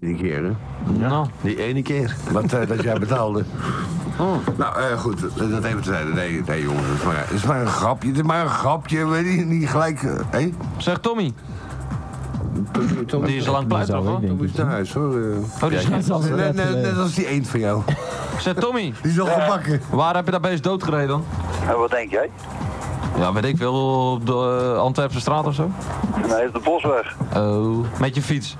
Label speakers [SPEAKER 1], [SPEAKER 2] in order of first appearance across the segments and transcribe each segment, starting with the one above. [SPEAKER 1] Die keer, hè?
[SPEAKER 2] Ja. Nou,
[SPEAKER 1] Die ene keer. Wat, eh, dat jij betaalde.
[SPEAKER 2] Oh.
[SPEAKER 1] Nou, eh, goed. eh, Dat even te zijn. Nee, nee, jongens. Het is, maar, het is maar een grapje. Het is maar een grapje. Weet je, niet gelijk... eh, Hé?
[SPEAKER 2] zeg Tommy. Die is al lang
[SPEAKER 3] Die
[SPEAKER 2] pleit,
[SPEAKER 3] is al
[SPEAKER 2] toch?
[SPEAKER 3] weg,
[SPEAKER 2] hoor?
[SPEAKER 3] denk
[SPEAKER 1] Moet
[SPEAKER 3] ik.
[SPEAKER 1] je naar huis, hoor. eh.
[SPEAKER 2] Oh, die is
[SPEAKER 3] Dat is al zo
[SPEAKER 1] Net,
[SPEAKER 3] net
[SPEAKER 1] net-
[SPEAKER 2] eh,
[SPEAKER 1] net
[SPEAKER 3] geleden.
[SPEAKER 1] als die eend van jou.
[SPEAKER 2] Zeg Tommy,
[SPEAKER 1] Die is al gebakken.
[SPEAKER 2] waar heb je dat beest doodgereden dan?
[SPEAKER 4] En wat denk jij?
[SPEAKER 2] Ja, weet ik veel, op de eh, Antwerpse straat of zo.
[SPEAKER 4] Nee, op de bosweg.
[SPEAKER 2] Oh, met je fiets.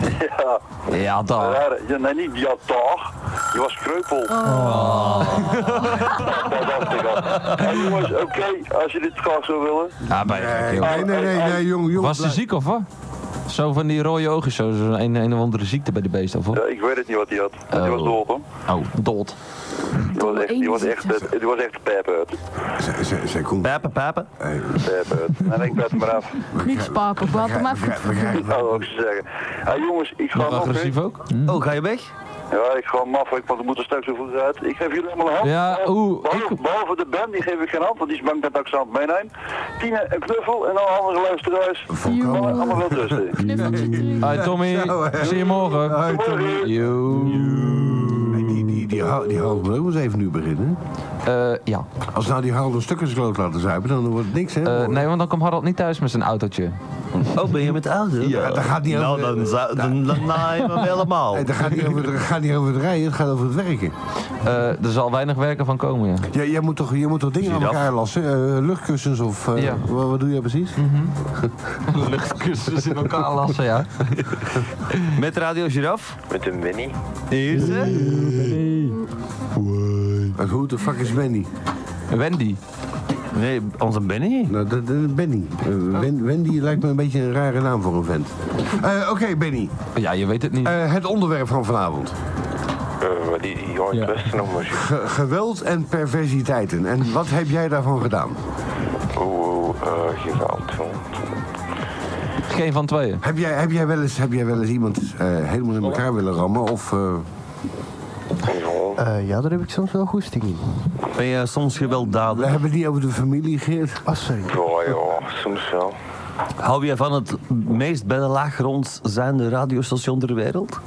[SPEAKER 4] Ja,
[SPEAKER 2] Ja, daar.
[SPEAKER 4] daar, ja, nee, niet ja toch. Je was kreupel. Dat dacht ik al. Hey, jongens, oké, als je dit graag zou willen.
[SPEAKER 2] Ja, bij
[SPEAKER 1] Nee, Eh, nee, nee, nee, nee, jong, jong.
[SPEAKER 2] Was ze ziek of wat? Zo van die rode ogen, zo. zo een, een of andere ziekte bij de beest of wat?
[SPEAKER 4] Ja, ik weet het niet wat hij had. Die was
[SPEAKER 2] Oh.
[SPEAKER 4] dood, hoor.
[SPEAKER 2] Oh, dood.
[SPEAKER 4] Die was echt, die was echt,
[SPEAKER 5] Eenzijds.
[SPEAKER 4] die was echt pepert.
[SPEAKER 2] dus-
[SPEAKER 1] Zij- zij- Zij komt.
[SPEAKER 2] Pepe, pepe.
[SPEAKER 4] En ik ben het maar af.
[SPEAKER 5] Niks papen, wat hem
[SPEAKER 1] We
[SPEAKER 5] even.
[SPEAKER 1] krijgen-
[SPEAKER 4] Dat zou ik zo zeggen. Hé, jongens, ik ga
[SPEAKER 2] Nog
[SPEAKER 4] nog
[SPEAKER 2] agressief
[SPEAKER 4] even.
[SPEAKER 2] ook?
[SPEAKER 6] Oh, ga je weg?
[SPEAKER 4] Ja, ik ga maf, want we moeten straks over uit. Ik geef jullie allemaal een hand. Eh,
[SPEAKER 2] Ja, oeh,
[SPEAKER 4] Behalve,
[SPEAKER 2] ik-
[SPEAKER 4] behalve de band, die geef ik geen hand, want die is bang dat ik ze hand meeneem. Tine, een knuffel en alle andere luisteraars.
[SPEAKER 1] Volkomen.
[SPEAKER 4] Allemaal wel tussen.
[SPEAKER 5] Knuffeltje terug.
[SPEAKER 2] Hi Tommy,
[SPEAKER 1] Zo, hè.
[SPEAKER 2] zie je morgen.
[SPEAKER 1] Hoi, Tommy.
[SPEAKER 2] Yo.
[SPEAKER 1] Nee, Die, die, die, hal- die hal wil ook eens even nu beginnen.
[SPEAKER 2] Eh, ja.
[SPEAKER 1] Als nou die hal een stuk in zijn kloot laten zuipen, dan wordt het niks, hè?
[SPEAKER 2] Eh, nee, want dan komt Harald niet thuis met zijn autootje.
[SPEAKER 6] Oh, ben je met de auto?
[SPEAKER 1] Ja, dat gaat niet
[SPEAKER 6] Nou,
[SPEAKER 1] over-
[SPEAKER 6] dan, zou- dan, dan naaien we hem helemaal.
[SPEAKER 1] Nee, dat gaat niet over, dat gaat niet over het rijden, het gaat over het werken.
[SPEAKER 2] Eh, er zal weinig werken van komen, ja.
[SPEAKER 1] Ja, jij moet toch, jij moet toch dingen aan
[SPEAKER 6] Zie je dat?
[SPEAKER 1] elkaar lassen? Eh, luchtkussens of... eh,
[SPEAKER 2] Ja.
[SPEAKER 1] wa- wat, doe jij precies?
[SPEAKER 6] Hm.
[SPEAKER 2] Luchtkussens in elkaar lassen, ja.
[SPEAKER 6] Met Radio Giraf?
[SPEAKER 7] Met een Winnie.
[SPEAKER 6] Hier is ze.
[SPEAKER 1] Eh, Hoe de fuck is Wendy?
[SPEAKER 2] Wendy.
[SPEAKER 6] Nee, onze Benny.
[SPEAKER 1] Nou, dat, dat- Benny. Eh,
[SPEAKER 6] Oh.
[SPEAKER 1] Wen- Wendy lijkt me een beetje een rare naam voor een vent. Eh, Oké, Benny.
[SPEAKER 2] Ja, je weet het niet.
[SPEAKER 1] Eh, het onderwerp van vanavond.
[SPEAKER 7] Eh, wat die die jongen
[SPEAKER 3] Ja.
[SPEAKER 7] ja. nog maar
[SPEAKER 1] Ge- geweld en perversiteiten. En wat heb jij daarvan gedaan?
[SPEAKER 7] Oeh, oeh, eh, geweld. hoor.
[SPEAKER 3] Eh.
[SPEAKER 2] Geen van tweeën.
[SPEAKER 1] Heb jij, heb jij, wel, eens, heb jij wel eens iemand eh, helemaal in elkaar willen rammen? Of, eh,
[SPEAKER 7] En gewoon.
[SPEAKER 8] Eh, ja, daar heb ik soms wel goesting in.
[SPEAKER 6] Ben je soms
[SPEAKER 1] we
[SPEAKER 6] gewelddadig?
[SPEAKER 1] hebben het niet over de familie, Geert.
[SPEAKER 8] Ah, sorry.
[SPEAKER 7] Ja, ja, soms wel.
[SPEAKER 6] Hou je van het meest bij de laaggrond zijnde radiostation ter wereld?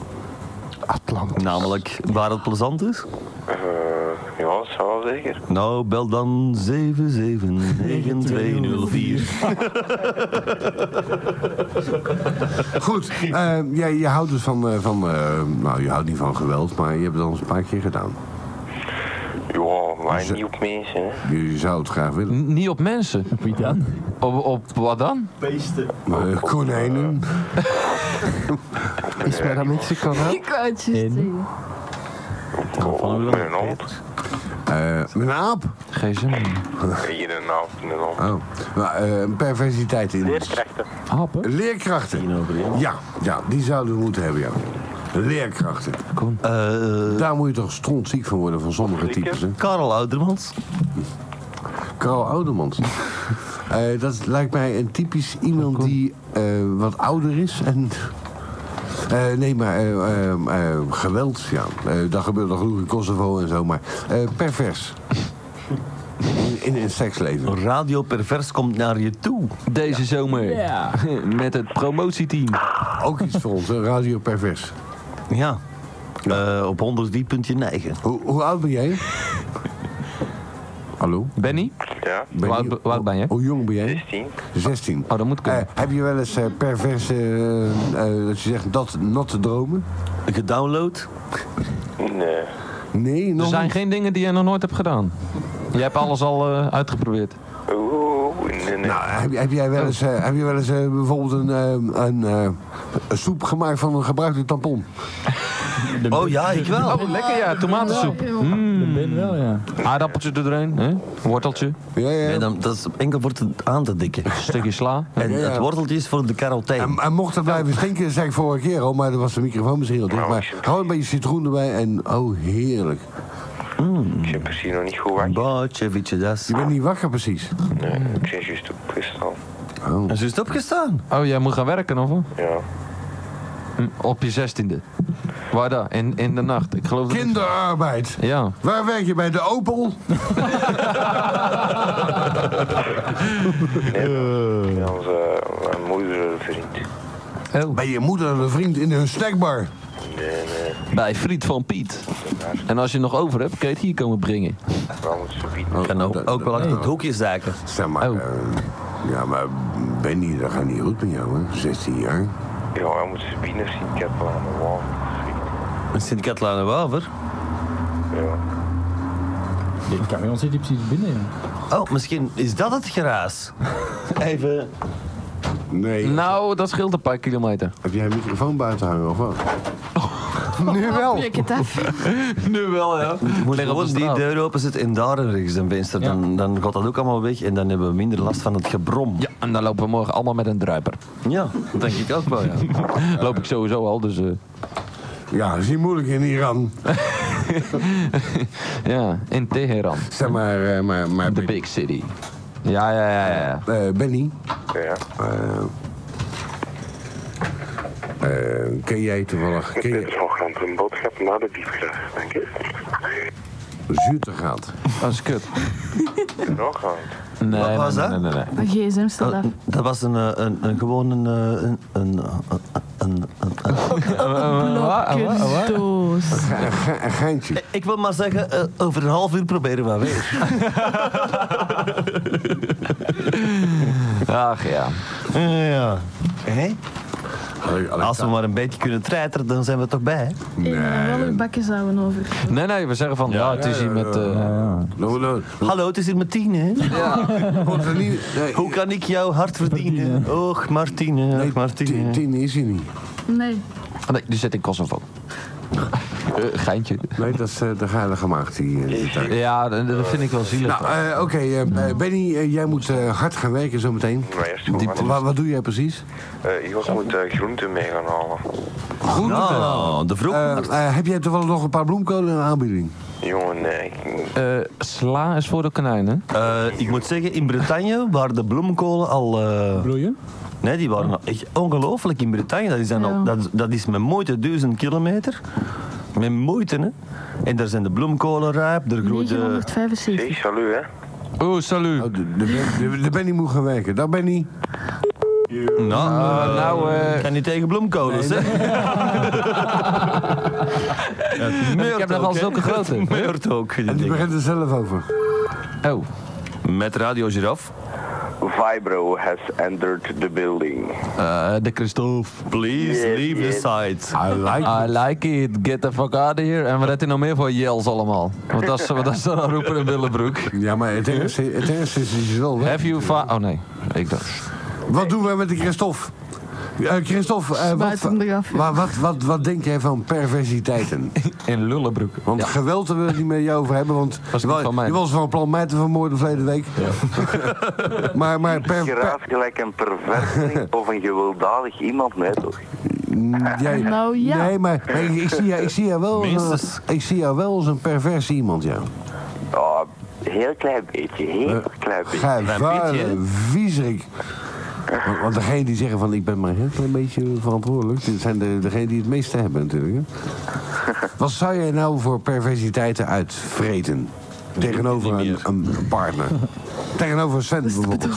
[SPEAKER 8] Atlant.
[SPEAKER 6] Namelijk waar het plezant is?
[SPEAKER 7] Eh, ja, dat zou wel zeker.
[SPEAKER 6] Nou, bel dan 779204.
[SPEAKER 1] Goed, eh, jij, je houdt dus van... eh, van eh, nou, je houdt niet van geweld, maar je hebt het al eens een paar keer gedaan.
[SPEAKER 7] Ja, maar niet op mensen. Hè.
[SPEAKER 1] Je zou het graag willen.
[SPEAKER 2] N- niet op mensen.
[SPEAKER 3] Wie dan?
[SPEAKER 2] Op, op wat dan?
[SPEAKER 1] Eh, konijnen.
[SPEAKER 8] Is waar dat mensen kan hè?
[SPEAKER 5] Ik wou het juist
[SPEAKER 3] En?
[SPEAKER 5] zeggen.
[SPEAKER 7] Oh, met een hand.
[SPEAKER 1] Eh, met een aap.
[SPEAKER 2] Geen zin. meer.
[SPEAKER 7] Hier een hand, met een hand.
[SPEAKER 1] Oh. Maar, eh, perversiteiten in
[SPEAKER 7] Leerkrachten.
[SPEAKER 3] Happen?
[SPEAKER 1] Leerkrachten. Ja, ja, die zouden we moeten hebben, ja. Leerkrachten.
[SPEAKER 6] Eh,
[SPEAKER 1] Daar moet je toch strontziek van worden van sommige types, hè?
[SPEAKER 6] Karel Oudermans.
[SPEAKER 1] Karel Oudermans. Eh, dat lijkt mij een typisch iemand die eh, wat ouder is en... Eh, nee, maar eh, eh, eh, geweld, ja. Eh, dat gebeurt nog genoeg in Kosovo en zo, maar eh, pervers. In, in een seksleven.
[SPEAKER 6] Radio Pervers komt naar je toe.
[SPEAKER 2] Deze zomer.
[SPEAKER 3] Ja.
[SPEAKER 2] Met het promotieteam.
[SPEAKER 1] Ook iets voor ons, hè, radio pervers.
[SPEAKER 6] Ja. Eh, op 103.9.
[SPEAKER 1] Hoe, hoe oud ben jij? Hallo?
[SPEAKER 2] Benny,
[SPEAKER 7] Ja,
[SPEAKER 1] Ben
[SPEAKER 2] Hoe oud be- hoe oud ben je?
[SPEAKER 1] Hoe jong ben jij?
[SPEAKER 7] 16.
[SPEAKER 1] 16.
[SPEAKER 2] oh, dat moet
[SPEAKER 1] Eh,
[SPEAKER 2] kunnen.
[SPEAKER 1] heb je wel eens eh, perverse, eh, eh, dat je zegt, dat natte dromen?
[SPEAKER 6] Gedownload.
[SPEAKER 7] Nee.
[SPEAKER 1] Nee, nog
[SPEAKER 2] er zijn
[SPEAKER 1] niet.
[SPEAKER 2] geen dingen die je nog nooit hebt gedaan. Je hebt alles al eh, uitgeprobeerd.
[SPEAKER 7] Oeh, oeh, oeh, nee, nee.
[SPEAKER 1] Nou, heb, heb jij wel eens, eh, heb je wel eens eh, bijvoorbeeld een, eh, een, eh, een soep gemaakt van een gebruikte tampon?
[SPEAKER 6] Oh ja, ik wel.
[SPEAKER 2] Oh, lekker ja, tomatensoep.
[SPEAKER 3] Ik ben wel, ja.
[SPEAKER 2] Hmm. Aardappeltje er doorheen, hè? worteltje,
[SPEAKER 1] Ja, ja.
[SPEAKER 6] Nee, dan, dat is enkel voor het aan te dikken.
[SPEAKER 2] stukje sla.
[SPEAKER 6] En
[SPEAKER 1] Ja, ja.
[SPEAKER 6] het worteltje is voor de
[SPEAKER 1] En,
[SPEAKER 6] carotijn.
[SPEAKER 1] en mocht dat blijven stinken, dat zei ik vorige keer al, maar dan was de microfoon misschien heel dicht. Maar gewoon een beetje citroen erbij en oh heerlijk.
[SPEAKER 7] Ik zit precies nog niet goed wakker.
[SPEAKER 6] Botjevietje, dat is...
[SPEAKER 1] Je bent niet wakker precies.
[SPEAKER 7] Nee, ik zit juist op kristal.
[SPEAKER 1] Oh.
[SPEAKER 6] En ze is opgestaan.
[SPEAKER 2] Oh, jij moet gaan werken of wat?
[SPEAKER 7] Ja.
[SPEAKER 2] Hm, Op je zestiende. Waar daar? In, in de nacht. Ik geloof dat...
[SPEAKER 1] Kinderarbeid.
[SPEAKER 2] Ja.
[SPEAKER 1] Waar werk je bij de Opel?
[SPEAKER 7] Nee, dat is, eh, mijn moeder een vriend.
[SPEAKER 2] Oh.
[SPEAKER 1] Bij je moeder en een vriend in hun snackbar.
[SPEAKER 7] Nee, nee.
[SPEAKER 2] Bij Friet van Piet. En als je nog over hebt, kun je het hier komen brengen.
[SPEAKER 7] Waarom het verbieden?
[SPEAKER 1] Oh,
[SPEAKER 6] En ook,
[SPEAKER 1] dat-
[SPEAKER 6] ook wel
[SPEAKER 1] dat-
[SPEAKER 6] achter het hoekje zaken.
[SPEAKER 1] Zeg maar,
[SPEAKER 2] Oh.
[SPEAKER 1] eh, ja, maar Benny, dat gaat niet goed met jou, hè? 16 jaar.
[SPEAKER 7] Ja, hij moet verbieden of zien. Ik heb wel aan de wal.
[SPEAKER 6] Sint-Katlijn Waver.
[SPEAKER 7] Ja.
[SPEAKER 3] Dit kan bij ons niet precies binnen. ja.
[SPEAKER 6] Oh, misschien is dat het geraas. Even.
[SPEAKER 1] Nee.
[SPEAKER 2] Nou, dat scheelt een paar kilometer.
[SPEAKER 1] Heb jij een microfoon buiten hangen of wat?
[SPEAKER 8] Nu wel.
[SPEAKER 5] Prik het even.
[SPEAKER 2] Nu wel, ja.
[SPEAKER 6] Je moet
[SPEAKER 2] Leg op de
[SPEAKER 6] gewoon die
[SPEAKER 2] straat.
[SPEAKER 6] deur openzetten en daar ergens een venster. Dan, dan gaat dat ook allemaal weg en dan hebben we minder last van het gebrom.
[SPEAKER 2] Ja, en dan lopen we morgen allemaal met een druiper.
[SPEAKER 6] Ja, dat denk ik ook wel, ja.
[SPEAKER 2] Loop ik sowieso al, dus... eh,
[SPEAKER 1] Ja, dat is niet moeilijk in Iran.
[SPEAKER 2] ja, in Teheran.
[SPEAKER 1] Zeg maar, eh, maar, maar
[SPEAKER 2] The big city. Ja, ja, ja, ja. ja.
[SPEAKER 1] Eh, Benny,
[SPEAKER 7] Ja.
[SPEAKER 1] eh, eh, ken jij toevallig ken
[SPEAKER 7] Dit is
[SPEAKER 1] je
[SPEAKER 7] vanochtend een boodschap na de diepvraag, denk ik.
[SPEAKER 1] Zuurtegaat?
[SPEAKER 2] Dat is kut.
[SPEAKER 7] Doorgaand.
[SPEAKER 2] Nee, nee,
[SPEAKER 6] was
[SPEAKER 2] nee,
[SPEAKER 6] dat?
[SPEAKER 2] nee, nee, nee.
[SPEAKER 5] Mijn gsm staat
[SPEAKER 6] Dat,
[SPEAKER 5] af.
[SPEAKER 6] dat was een, eh, een, een gewoon een, eh, een, een, een, een, een-
[SPEAKER 2] Ah,
[SPEAKER 5] Blokkendoos.
[SPEAKER 1] Een ge- een geintje.
[SPEAKER 6] Ik wil maar zeggen, eh, over een half uur proberen we weer.
[SPEAKER 2] Ach ja.
[SPEAKER 6] ja. Hé?
[SPEAKER 1] Allee, allee,
[SPEAKER 6] Als we maar een beetje kunnen treiteren, dan zijn we toch bij. hè?
[SPEAKER 5] Ik ben wel uw bakjes houden over.
[SPEAKER 2] Nee, nee, we zeggen van... Ja, het is hier met... eh,
[SPEAKER 1] Nou, nou,
[SPEAKER 6] Hallo, het is hier Martine. hè?
[SPEAKER 1] wordt er niet- nee,
[SPEAKER 6] Hoe kan ik jouw hart verdienen? Och, Martine,
[SPEAKER 1] nee,
[SPEAKER 6] och, Martine.
[SPEAKER 1] Ti- Tine is hij niet.
[SPEAKER 5] Nee.
[SPEAKER 2] Ah, nee, die zit in Kosovo. Eh, geintje.
[SPEAKER 1] Nee, dat is eh, de heilige maagd die... eh, die daar-
[SPEAKER 2] Ja, dat dat vind ik wel zielig.
[SPEAKER 1] nou, eh, oké, eh, eh, Benny, eh, jij moet eh, hard gaan werken zometeen.
[SPEAKER 7] Maar eerst gewoon
[SPEAKER 1] Wa-
[SPEAKER 7] maar-
[SPEAKER 1] Wat, doe jij precies?
[SPEAKER 7] Eh, Jos moet eh, groenten mee gaan halen.
[SPEAKER 1] Goed.
[SPEAKER 6] Nou, de vroeg.
[SPEAKER 1] Eh, eh, heb jij toevallig nog een paar bloemkolen in de aanbieding?
[SPEAKER 7] Jongen, nee. ik-
[SPEAKER 2] Eh, sla is voor de konijnen.
[SPEAKER 6] Eh, ik moet zeggen, in Bretagne waren de bloemkolen al... eh,
[SPEAKER 3] Bloeien?
[SPEAKER 6] nee, die waren al echt ongelooflijk in Bretagne. Dat is, dan al,
[SPEAKER 5] Ja.
[SPEAKER 6] dat, is- dat is met moeite duizend kilometer. Met moeite, hè. En daar zijn de bloemkolen rijp, er groeit... eh,
[SPEAKER 5] 975.
[SPEAKER 7] Hey, salut, hè.
[SPEAKER 2] Oeh, salut.
[SPEAKER 1] Oh, de, de, de, de Benny moet gaan werken. Dag Benny.
[SPEAKER 6] nou, eh,
[SPEAKER 2] nou, eh,
[SPEAKER 6] ik kan niet tegen bloemkolens, hè.
[SPEAKER 2] ik heb nogal zulke grote.
[SPEAKER 6] Meurt ook. die
[SPEAKER 1] En die
[SPEAKER 6] dingen.
[SPEAKER 1] begint er zelf over.
[SPEAKER 2] Oh.
[SPEAKER 6] Met Radio Giraffe.
[SPEAKER 4] Vibro has entered the building.
[SPEAKER 2] Eh, de Christophe.
[SPEAKER 6] Please
[SPEAKER 7] Yes,
[SPEAKER 6] leave
[SPEAKER 7] yes.
[SPEAKER 6] the site.
[SPEAKER 1] I like
[SPEAKER 2] I like it. Get the fuck out of here. En wat had hij nog meer voor yells allemaal? Want dat is, wat dat is dan aan roepen in Willebroek.
[SPEAKER 1] Ja, maar het ergste, het ergste is dat je wel weg.
[SPEAKER 2] Have you fa... Oh nee, ik dacht...
[SPEAKER 1] Wat doen we met de Christophe? Eh, Christophe, eh, wat,
[SPEAKER 5] Spuit hem eraf.
[SPEAKER 1] wa- wat, wat, wat denk jij van perversiteiten?
[SPEAKER 2] In Oh, Lullebroek.
[SPEAKER 1] Want geweld willen we het niet met jou over hebben, want
[SPEAKER 2] niet
[SPEAKER 1] je, wa-
[SPEAKER 2] van mij.
[SPEAKER 1] je was van plan mij te vermoorden verleden week. maar maar per, per-
[SPEAKER 4] Geraas gelijk een perverseling of een gewelddadig iemand, nee toch?
[SPEAKER 1] Mm, jij,
[SPEAKER 5] Nou, ja.
[SPEAKER 1] Nee, maar hey, ik, zie jou, ik, zie jou wel, als een-
[SPEAKER 6] Minstens.
[SPEAKER 1] ik zie jou wel als een pervers iemand, ja.
[SPEAKER 4] Ja, heel klein beetje, heel
[SPEAKER 7] Eh,
[SPEAKER 4] klein beetje.
[SPEAKER 1] Gij
[SPEAKER 6] Klein
[SPEAKER 1] vuile
[SPEAKER 6] beetje.
[SPEAKER 1] viezerik. Want, want degene die zeggen van ik ben maar een heel klein beetje verantwoordelijk, dit zijn de, degenen die het meeste hebben natuurlijk. Hè? Wat zou jij nou voor perversiteiten uitvreten? Tegenover een, een partner. Tegenover Sven bijvoorbeeld.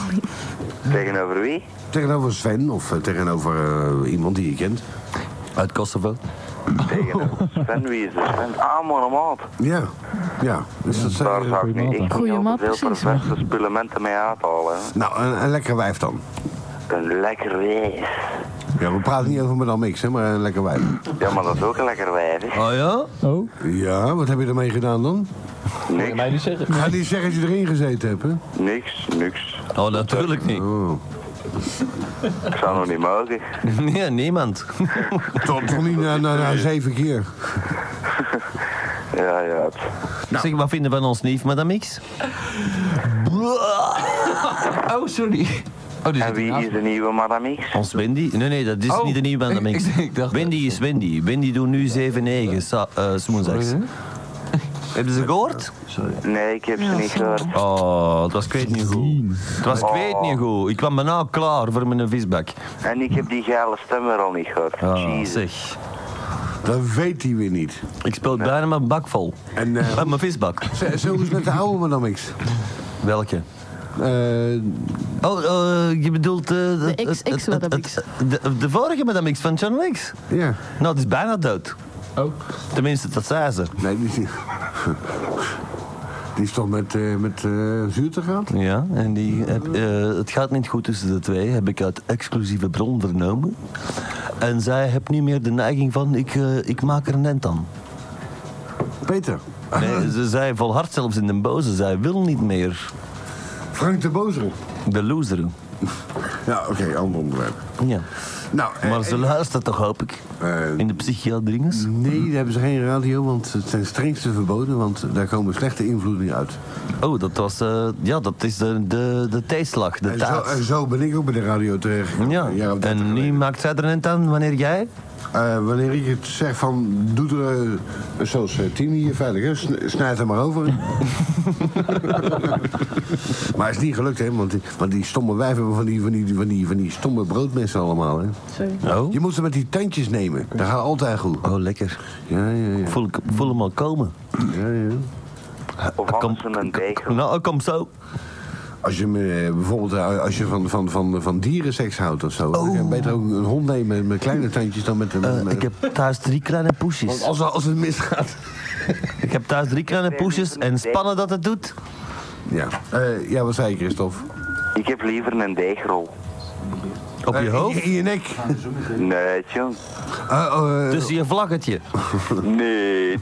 [SPEAKER 4] Tegenover wie?
[SPEAKER 1] Tegenover Sven of eh, tegenover eh, iemand die je kent.
[SPEAKER 6] Uit Kosovo.
[SPEAKER 4] Tegenover Sven, wie is er? Sven, ah, maar maat.
[SPEAKER 1] Ja, ja. Dus dat zijn-
[SPEAKER 4] Daar zou ik nu echt
[SPEAKER 5] Goeie
[SPEAKER 4] niet al
[SPEAKER 5] maat,
[SPEAKER 4] te veel
[SPEAKER 5] precies,
[SPEAKER 4] perverse spullementen mee uithalen. hè.
[SPEAKER 1] nou, een, een lekker wijf dan.
[SPEAKER 4] Een lekker wijf.
[SPEAKER 1] Ja, we praten niet over Madame X, hè, maar een lekker wijf.
[SPEAKER 4] Ja, maar dat is ook een lekker wijf, hè.
[SPEAKER 6] Oh ja?
[SPEAKER 3] Oh,
[SPEAKER 1] Ja, wat heb je ermee gedaan dan?
[SPEAKER 4] Niks,
[SPEAKER 3] mij niet zeggen.
[SPEAKER 1] Ga niet zeggen dat je erin gezeten hebt, hè?
[SPEAKER 4] niks, niks.
[SPEAKER 6] Oh, natuurlijk niet.
[SPEAKER 4] Ik zou nog niet mogen.
[SPEAKER 6] Nee, niemand.
[SPEAKER 1] Toch, toch niet na, na, na zeven keer.
[SPEAKER 4] Ja, ja. het-
[SPEAKER 2] Nou.
[SPEAKER 6] Zeg, wat vinden van ons lief, madame X?
[SPEAKER 2] Oh, sorry. Oh, die
[SPEAKER 4] En
[SPEAKER 2] zit
[SPEAKER 4] wie
[SPEAKER 2] ernaast.
[SPEAKER 4] is de nieuwe Madame X?
[SPEAKER 6] Ons Wendy? Nee, nee, dat is
[SPEAKER 2] Oh,
[SPEAKER 6] niet de nieuwe madame
[SPEAKER 2] ik-
[SPEAKER 6] X.
[SPEAKER 2] ik- ik dacht-
[SPEAKER 6] Wendy is Wendy. Wendy doet nu 7-9, sa- eh, 's woensdags.
[SPEAKER 2] Sorry,
[SPEAKER 6] Hebben ze gehoord?
[SPEAKER 4] Nee, ik heb ze
[SPEAKER 5] Ja,
[SPEAKER 4] niet
[SPEAKER 5] sorry.
[SPEAKER 4] gehoord.
[SPEAKER 6] Oh, het was kwijt niet goed. Het was kwijt niet goed. Ik kwam bijna klaar voor mijn visbak.
[SPEAKER 4] En ik heb die geile stem er al niet gehoord.
[SPEAKER 6] Ah,
[SPEAKER 4] Jezus.
[SPEAKER 6] zeg.
[SPEAKER 1] Dat weet hij weer niet.
[SPEAKER 6] Ik speel bijna mijn bak vol.
[SPEAKER 1] En eh,
[SPEAKER 6] Eh, mijn visbak.
[SPEAKER 1] zo- zo is het met de oude Madame X.
[SPEAKER 6] Welke?
[SPEAKER 1] Eh,
[SPEAKER 6] Oh, eh, je bedoelt... eh,
[SPEAKER 5] De XX,
[SPEAKER 6] het- het-
[SPEAKER 5] madame
[SPEAKER 6] het-
[SPEAKER 5] X.
[SPEAKER 6] De, de vorige madame X van John X.
[SPEAKER 1] ja.
[SPEAKER 6] Nou, het is bijna dood.
[SPEAKER 3] Oh,
[SPEAKER 6] Tenminste, dat zei ze.
[SPEAKER 1] Nee, die, die- die is toch met, eh met eh zuurte gehad?
[SPEAKER 6] Ja, en die, heb- eh, het gaat niet goed tussen de twee, heb ik uit exclusieve bron vernomen. En zij heeft nu meer de neiging van, ik, eh, ik maak er een end aan.
[SPEAKER 1] Peter.
[SPEAKER 6] Nee, ze, zij volhardt zelfs in de boze, zij wil niet meer
[SPEAKER 1] Frank de Bozer.
[SPEAKER 6] de loser.
[SPEAKER 1] Ja, oké, ander onderwerp.
[SPEAKER 6] Ja.
[SPEAKER 1] Nou, eh,
[SPEAKER 6] Maar ze luistert toch, hoop ik,
[SPEAKER 1] eh, mm.
[SPEAKER 6] in de psychiatringes.
[SPEAKER 1] nee, daar hebben ze geen radio, want het zijn strengste verboden, want daar komen slechte invloeden uit.
[SPEAKER 6] Oh, dat was, eh, ja, dat is de, de, de tijdslag, de
[SPEAKER 1] En zo,
[SPEAKER 6] taart.
[SPEAKER 1] en zo ben ik ook bij de radio terecht. gekomen,
[SPEAKER 6] Ja,
[SPEAKER 1] een jaar of dertig
[SPEAKER 6] en nu
[SPEAKER 1] geleden.
[SPEAKER 6] maakt zij er een end aan wanneer jij...
[SPEAKER 1] Eh, wanneer ik het zeg van, doe er, eh, zoals eh, Tim hier veilig is, sn- snijd er maar over. maar het is niet gelukt, hè, want die, want die stomme wijven hebben van die, van, die, van, die, van die stomme broodmessen allemaal. Hè.
[SPEAKER 5] Sorry.
[SPEAKER 6] Oh,
[SPEAKER 1] Je moet ze met die tandjes nemen, dat gaat altijd goed.
[SPEAKER 6] oh lekker.
[SPEAKER 1] Ja, ja, ja.
[SPEAKER 6] Voel, ik voel hem al komen.
[SPEAKER 1] ja, ja.
[SPEAKER 7] Of hadden ze een degel?
[SPEAKER 6] Nou, kom zo.
[SPEAKER 1] Als je hem, eh, bijvoorbeeld eh, als je van, van, van, van dierenseks houdt of zo, dan kan je beter ook een hond nemen met, met kleine tandjes dan met een.
[SPEAKER 6] Oh. Eh,
[SPEAKER 1] met-
[SPEAKER 6] ik heb thuis drie kleine poesjes.
[SPEAKER 1] want als, als het misgaat.
[SPEAKER 6] Ik heb thuis drie kleine
[SPEAKER 7] Nee,
[SPEAKER 6] poesjes
[SPEAKER 7] niet een
[SPEAKER 6] en
[SPEAKER 7] dek.
[SPEAKER 6] spannen dat het doet.
[SPEAKER 1] Ja. Eh, ja, wat zei je, Christophe?
[SPEAKER 6] nou-
[SPEAKER 7] Ik heb liever een deegrol.
[SPEAKER 6] Op je
[SPEAKER 1] Eh,
[SPEAKER 6] hoofd?
[SPEAKER 1] In, in je nek.
[SPEAKER 7] Nee, jong.
[SPEAKER 1] Eh, eh,
[SPEAKER 6] Tussen je vlaggetje.
[SPEAKER 7] Nee.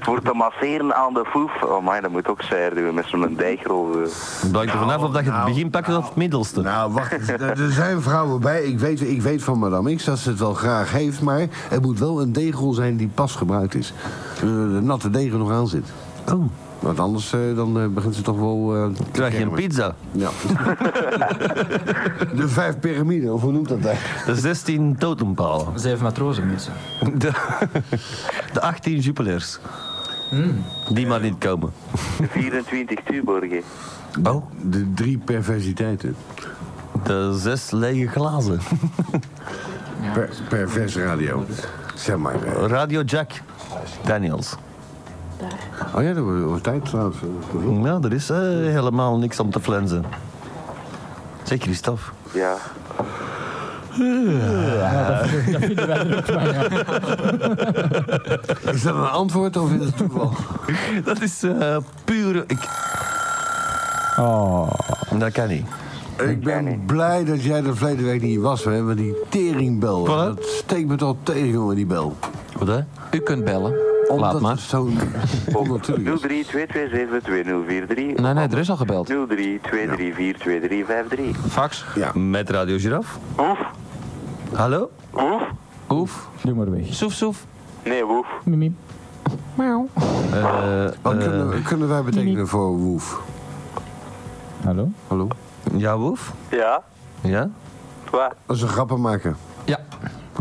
[SPEAKER 7] Voor te masseren aan de foef. Oh man, dat moet ook zeer doen met zo'n deegrol. eh.
[SPEAKER 6] Het hangt er vanaf of dat je het
[SPEAKER 1] nou,
[SPEAKER 6] begin pakt of het middelste.
[SPEAKER 1] Nou, wacht. er er zijn vrouwen bij. Ik weet, ik weet van madame X dat ze het wel graag heeft. Maar er moet wel een degel zijn die pas gebruikt is. Eh, De natte degel nog aan zit.
[SPEAKER 6] Oh,
[SPEAKER 1] Want anders eh, dan, eh, begint ze toch wel... eh, te
[SPEAKER 6] krijg je een
[SPEAKER 1] kermen.
[SPEAKER 6] pizza.
[SPEAKER 1] Ja. de vijf piramiden, of hoe noemt dat eigenlijk?
[SPEAKER 6] De 16 totempalen.
[SPEAKER 9] Zeven matrozen mensen.
[SPEAKER 6] De, de 18 jupilers.
[SPEAKER 9] Hmm.
[SPEAKER 6] Die maar niet komen.
[SPEAKER 7] 24 Tuborgen.
[SPEAKER 6] Oh,
[SPEAKER 1] De drie perversiteiten.
[SPEAKER 6] de zes lege glazen.
[SPEAKER 1] Per, pervers radio. Zeg maar. eh.
[SPEAKER 6] Radio Jack Daniels.
[SPEAKER 1] Oh ja, dat wordt wordt tijd trouwens.
[SPEAKER 6] Ja, er is eh, helemaal niks om te flensen. Zeg Christophe.
[SPEAKER 7] Ja.
[SPEAKER 1] Is dat een antwoord of is het toeval?
[SPEAKER 6] Dat is eh, pure... Ik...
[SPEAKER 3] oh.
[SPEAKER 6] Dat kan niet.
[SPEAKER 1] Ik ben blij dat jij er verleden week niet was, hè, want die teringbel,
[SPEAKER 6] Wat?
[SPEAKER 1] dat steekt me toch tegen, jongen, die bel.
[SPEAKER 6] Wat hè?
[SPEAKER 2] U kunt bellen.
[SPEAKER 1] Omdat
[SPEAKER 2] Laat maar.
[SPEAKER 1] het zo'n onnatuurlijk
[SPEAKER 7] 03
[SPEAKER 1] is.
[SPEAKER 7] 2043
[SPEAKER 6] Nou-
[SPEAKER 2] Nee, nee, er is al gebeld.
[SPEAKER 7] 03 234 2353.
[SPEAKER 2] Fax.
[SPEAKER 1] Ja.
[SPEAKER 6] Met Radio Giraffe.
[SPEAKER 7] Oef,
[SPEAKER 6] Hallo?
[SPEAKER 7] oef.
[SPEAKER 2] Oef.
[SPEAKER 3] Doe maar weg.
[SPEAKER 2] Soef, soef.
[SPEAKER 7] Nee, woef.
[SPEAKER 3] Miep, miep.
[SPEAKER 6] Eh,
[SPEAKER 1] Wat kunnen, kunnen wij betekenen voor Woef?
[SPEAKER 3] Hallo?
[SPEAKER 1] Hallo?
[SPEAKER 6] ja, Woef?
[SPEAKER 7] Ja,
[SPEAKER 6] Ja?
[SPEAKER 7] wat?
[SPEAKER 1] Dat is een grappenmaker.
[SPEAKER 2] Ja.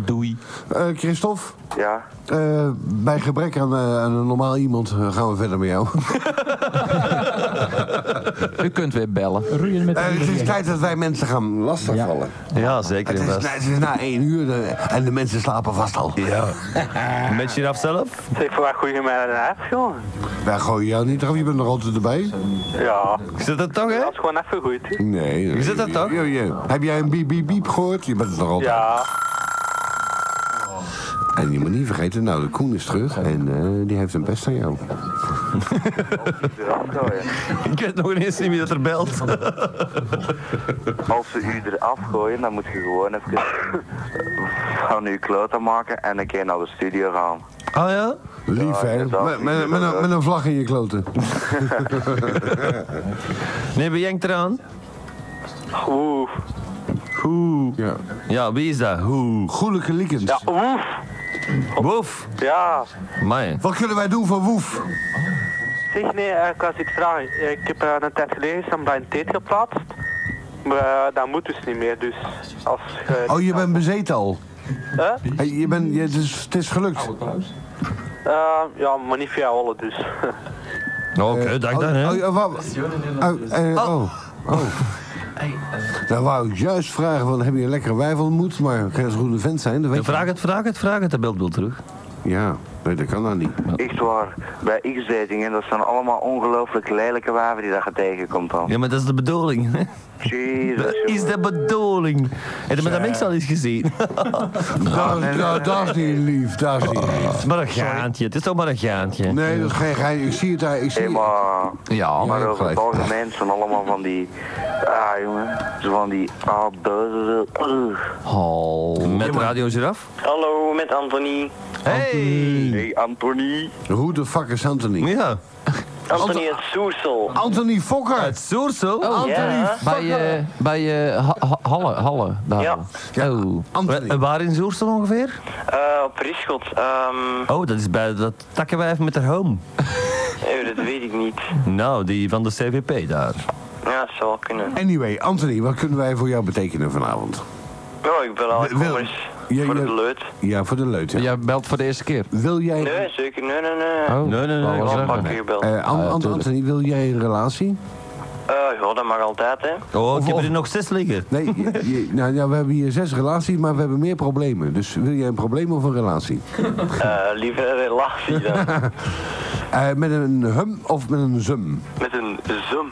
[SPEAKER 6] Doei.
[SPEAKER 1] Eh Christophe,
[SPEAKER 7] Ja.
[SPEAKER 1] eh, bij gebrek aan, eh, aan een normaal iemand eh, gaan we verder met jou.
[SPEAKER 2] U kunt weer bellen.
[SPEAKER 3] Roeien met de
[SPEAKER 1] Eh, het is
[SPEAKER 3] riemen.
[SPEAKER 1] tijd dat wij mensen gaan lastigvallen.
[SPEAKER 6] Ja, zeker.
[SPEAKER 1] Het,
[SPEAKER 6] en
[SPEAKER 1] is,
[SPEAKER 6] vast.
[SPEAKER 1] na- het is na één uur eh, en de mensen slapen vast al.
[SPEAKER 6] Ja. Met Giraffe zelf?
[SPEAKER 7] Zeg, wat gooi je mij dan af, jongen?
[SPEAKER 1] Wij gooien jou niet eraf, je bent nog altijd erbij.
[SPEAKER 7] Ja,
[SPEAKER 6] Zit dat toch, hè?
[SPEAKER 7] dat is gewoon even goed.
[SPEAKER 1] Nee. Is
[SPEAKER 6] zit dat toch?
[SPEAKER 1] Heb jij een biep biep biep gehoord? Je bent het nog altijd.
[SPEAKER 7] Ja.
[SPEAKER 1] En je moet niet vergeten, nou, de Koen is terug en eh, die heeft een best aan jou.
[SPEAKER 7] eraf gooien.
[SPEAKER 6] Ik weet nog ineens niet wie dat er belt.
[SPEAKER 7] Als ze u eraf gooien, dan moet je gewoon even van uw kloten maken en een keer naar de studio gaan.
[SPEAKER 6] Ah ja?
[SPEAKER 1] Lief,
[SPEAKER 7] Ja,
[SPEAKER 1] hè?
[SPEAKER 7] inderdaad.
[SPEAKER 1] Met, met, met een, met een vlag in je kloten.
[SPEAKER 6] Nee, wie jengt eraan?
[SPEAKER 7] Oef.
[SPEAKER 6] Hoe?
[SPEAKER 1] Ja.
[SPEAKER 6] Ja, wie is dat? Hoe?
[SPEAKER 1] Goedelijke liekens.
[SPEAKER 7] Ja, oef.
[SPEAKER 6] Woef.
[SPEAKER 7] Ja.
[SPEAKER 6] Mij.
[SPEAKER 1] Wat kunnen wij doen voor Woef?
[SPEAKER 10] Zeg nee, eh, ik was iets vragen. Eh, Ik heb eh, een tijd geleden een blind date geplaatst. Maar eh, dat moet dus niet meer, dus als je...
[SPEAKER 1] Oh, je bent bezeten al.
[SPEAKER 10] Hè?
[SPEAKER 1] Hey, Je bent, je, het, is, het is gelukt.
[SPEAKER 10] Eh, ja, maar niet via alle dus.
[SPEAKER 6] Oké, dank dan,
[SPEAKER 1] Oh,
[SPEAKER 6] hè?
[SPEAKER 1] oh, wa- oh, eh, oh. oh. Dan wou ik juist vragen, van, heb je een lekkere wijf ontmoet? Maar kan het een goede vent zijn? Dat weet je.
[SPEAKER 6] Vraag het, vraag het, vraag het. Dat belt wel terug.
[SPEAKER 1] Ja. Nee, dat kan nou niet.
[SPEAKER 7] Echt waar, bij X-dating en dat zijn allemaal ongelooflijk lelijke waven die dat je tegenkomt dan.
[SPEAKER 6] Ja, maar dat is de bedoeling. hè? Dat
[SPEAKER 7] Jezus.
[SPEAKER 6] is de bedoeling. En dat heb ik al eens gezien.
[SPEAKER 1] Dat, dat, dat is niet lief, dat is niet lief.
[SPEAKER 6] Het is maar een gaantje. Het is toch maar een gaantje.
[SPEAKER 1] Nee, dat is geen gein. Ik zie het daar. Ik zie
[SPEAKER 7] Hey, maar,
[SPEAKER 2] Ja,
[SPEAKER 7] maar
[SPEAKER 1] ja,
[SPEAKER 7] over het
[SPEAKER 1] gelijk.
[SPEAKER 7] algemeen zijn allemaal van die, ah jongen, zo van die Ah, abuizen.
[SPEAKER 2] Oh.
[SPEAKER 6] Met Radio Giraf.
[SPEAKER 4] Hallo, met Anthony.
[SPEAKER 6] Hey!
[SPEAKER 7] Hey Anthony.
[SPEAKER 1] Hoe de fuck is Anthony?
[SPEAKER 6] Ja.
[SPEAKER 4] Anthony het Soesel.
[SPEAKER 1] Anthony
[SPEAKER 6] Het
[SPEAKER 1] Fokker!
[SPEAKER 6] Soersel. Oh,
[SPEAKER 4] Ja.
[SPEAKER 2] Bij, eh bij eh Ha- Ha- Halle, Halle, daar.
[SPEAKER 4] Ja.
[SPEAKER 2] Oh.
[SPEAKER 1] Anthony.
[SPEAKER 6] Waar in Soersel ongeveer?
[SPEAKER 4] Eh, op Rischot. ehm,
[SPEAKER 6] Oh, dat is bij dat takkenwijf met haar home.
[SPEAKER 4] eh, dat weet ik niet.
[SPEAKER 6] Nou, die van de CVP daar.
[SPEAKER 4] Ja, dat zou wel kunnen.
[SPEAKER 1] Anyway, Anthony, wat kunnen wij voor jou betekenen vanavond?
[SPEAKER 4] Nou, ik bel al
[SPEAKER 1] Wil- wil-
[SPEAKER 4] eens
[SPEAKER 1] Ja,
[SPEAKER 4] voor
[SPEAKER 1] ja.
[SPEAKER 4] de leut.
[SPEAKER 1] Ja, voor de leut. ja.
[SPEAKER 2] Jij belt voor de eerste keer.
[SPEAKER 1] Wil jij...
[SPEAKER 4] Nee, zeker. Nee, nee, nee.
[SPEAKER 2] Oh.
[SPEAKER 6] nee,
[SPEAKER 2] Wou
[SPEAKER 6] nee, ik
[SPEAKER 2] wel
[SPEAKER 4] Al
[SPEAKER 6] zeg
[SPEAKER 4] een
[SPEAKER 2] zeggen.
[SPEAKER 4] pak keer gebeld.
[SPEAKER 1] eh, An-
[SPEAKER 2] Ah, ja,
[SPEAKER 1] An-
[SPEAKER 2] tuurlijk.
[SPEAKER 1] Anthony, wil jij een relatie?
[SPEAKER 4] Eh, ja, dat mag altijd, hè.
[SPEAKER 6] Oh, ik heb er nog zes liggen.
[SPEAKER 1] Nee, je- je- nou, ja, we hebben hier zes relaties, maar we hebben meer problemen. Dus wil jij een probleem of een relatie?
[SPEAKER 4] Eh, liever relatie dan.
[SPEAKER 1] Eh, met een hum of met een zum?
[SPEAKER 4] Met een zoom.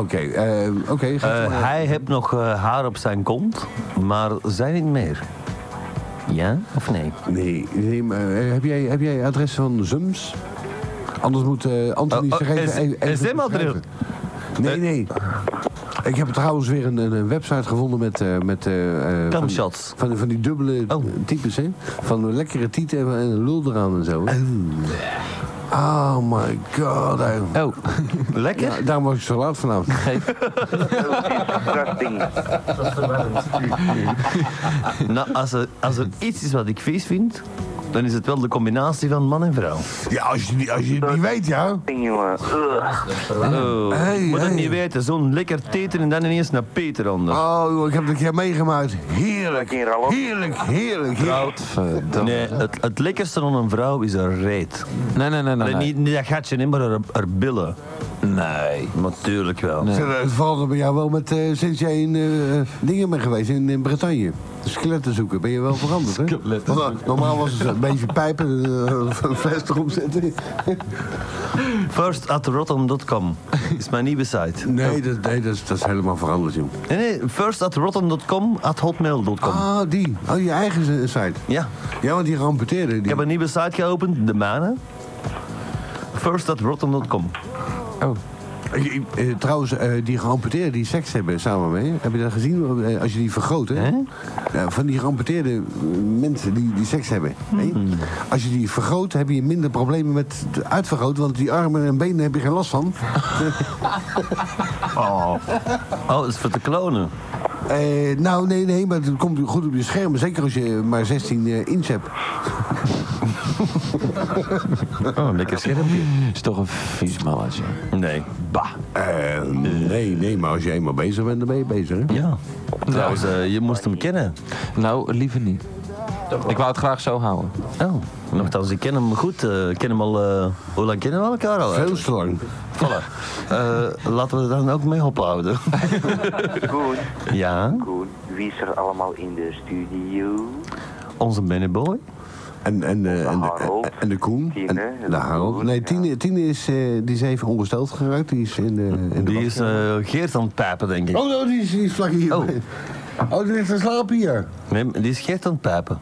[SPEAKER 1] Oké, eh, oké. ga
[SPEAKER 6] Eh,
[SPEAKER 1] verder.
[SPEAKER 6] hij heeft nog eh, haar op zijn kont, maar zij niet meer. Ja of nee?
[SPEAKER 1] Nee, nee maar, eh, heb, jij, heb jij adres van Zums? Anders moet eh Anthony
[SPEAKER 6] Oh, oh,
[SPEAKER 1] zich even...
[SPEAKER 6] is-
[SPEAKER 1] even-
[SPEAKER 6] is
[SPEAKER 1] even
[SPEAKER 6] hem al
[SPEAKER 1] beschrijven. Nee, nee. Ik heb trouwens weer een, een- een website gevonden met... eh met eh, eh, van, die-
[SPEAKER 6] Camshots.
[SPEAKER 1] van, die- van die dubbele
[SPEAKER 6] Oh.
[SPEAKER 1] types, hè? Van lekkere tieten en, en een lul eraan en zo. hè. Oh my god. hij-
[SPEAKER 2] Oh,
[SPEAKER 6] Lekker?
[SPEAKER 1] Ja, daarom was ik zo laat vanavond.
[SPEAKER 7] Disgusting.
[SPEAKER 6] Nou, als er, als er iets is wat ik vies vind, dan is het wel de combinatie van man en vrouw.
[SPEAKER 1] Ja, als je, die- als je het niet weet, ja.
[SPEAKER 7] Ding, jongen. Ugh.
[SPEAKER 6] Oh,
[SPEAKER 1] Hey,
[SPEAKER 6] moet het
[SPEAKER 1] hey.
[SPEAKER 6] niet weten, zo'n lekker teter en dan ineens naar Peter onder.
[SPEAKER 1] Oh, ik heb het een keer meegemaakt. Heerlijk.
[SPEAKER 7] Een keer al op.
[SPEAKER 1] Heerlijk, heerlijk, heerlijk.
[SPEAKER 2] verdomme.
[SPEAKER 6] Nee, het, het lekkerste aan een vrouw is haar reet.
[SPEAKER 2] Nee, nee, nee, Ah, nee.
[SPEAKER 6] Nee,
[SPEAKER 2] Nee.
[SPEAKER 6] Niet, niet dat gatje, nee, maar haar, haar billen.
[SPEAKER 2] nee.
[SPEAKER 6] Natuurlijk wel.
[SPEAKER 2] Nee.
[SPEAKER 1] Zeg, Het verandert eh, bij jou wel met, eh, sinds jij in eh, eh, dingen bent geweest, in, in Bretagne. Skeletten zoeken, ben je wel veranderd, hè?
[SPEAKER 3] Skeletten
[SPEAKER 1] Want, eh, normaal was het een beetje pijpen, eh, een fles erop zetten.
[SPEAKER 6] First at rotten.com is mijn nieuwe site.
[SPEAKER 1] Nee, dat, nee dat, is, dat is helemaal veranderd, joh.
[SPEAKER 6] Nee, nee, first at rotten.com at hotmail.com.
[SPEAKER 1] Ah, die. Oh, je eigen z- site.
[SPEAKER 6] Ja,
[SPEAKER 1] Ja, want die geamputeerde.
[SPEAKER 6] ik
[SPEAKER 1] Die.
[SPEAKER 6] heb een nieuwe site geopend, de manen. First at rotten.com.
[SPEAKER 1] Eh, eh, trouwens, eh, die geamputeerden die seks hebben samen mee, heb je dat gezien? Eh, Als je die vergroot, hè? Ja, van die geamputeerde eh, mensen die, die seks hebben. hè? Als je die vergroot, heb je minder problemen met het uitvergroot, want die armen en benen heb je geen last van.
[SPEAKER 6] Oh, dat is voor te klonen.
[SPEAKER 1] Eh, nou, nee, nee, maar het komt goed op je scherm. Zeker als je maar 16 eh, inch hebt.
[SPEAKER 6] Oh, lekker schermpje.
[SPEAKER 2] Is toch een vies mannetje.
[SPEAKER 6] Nee.
[SPEAKER 2] Bah.
[SPEAKER 1] Eh, nee, nee, maar als je eenmaal bezig bent, dan ben je bezig. Hè?
[SPEAKER 6] Ja. Trouwens, eh, je moest hem kennen.
[SPEAKER 2] Nou, liever niet. Ik wou het graag zo houden.
[SPEAKER 6] Oh, nogthans, ik ken hem goed. eh, Ik ken hem al... eh, hoe lang kennen we elkaar al?
[SPEAKER 1] Veel te lang.
[SPEAKER 6] Voilà. Eh, laten we er dan ook mee ophouden.
[SPEAKER 7] Koen,
[SPEAKER 6] ja,
[SPEAKER 7] Koen, wie is er allemaal in de studio?
[SPEAKER 6] onze Bennyboy.
[SPEAKER 1] En, en, eh, en,
[SPEAKER 7] Harold.
[SPEAKER 1] de, en de Koen.
[SPEAKER 7] Tine,
[SPEAKER 1] En,
[SPEAKER 7] hè?
[SPEAKER 1] de Harold. Nee, Tine, Tine is, eh, die is even ongesteld geraakt. Die is in de, in de
[SPEAKER 6] Die is eh, Geert aan het pijpen, denk ik.
[SPEAKER 1] Oh, no, die is, die is vlak hier.
[SPEAKER 6] Oh.
[SPEAKER 1] Oh, die ligt te slapen hier.
[SPEAKER 6] Nee, die is Geert aan het pijpen.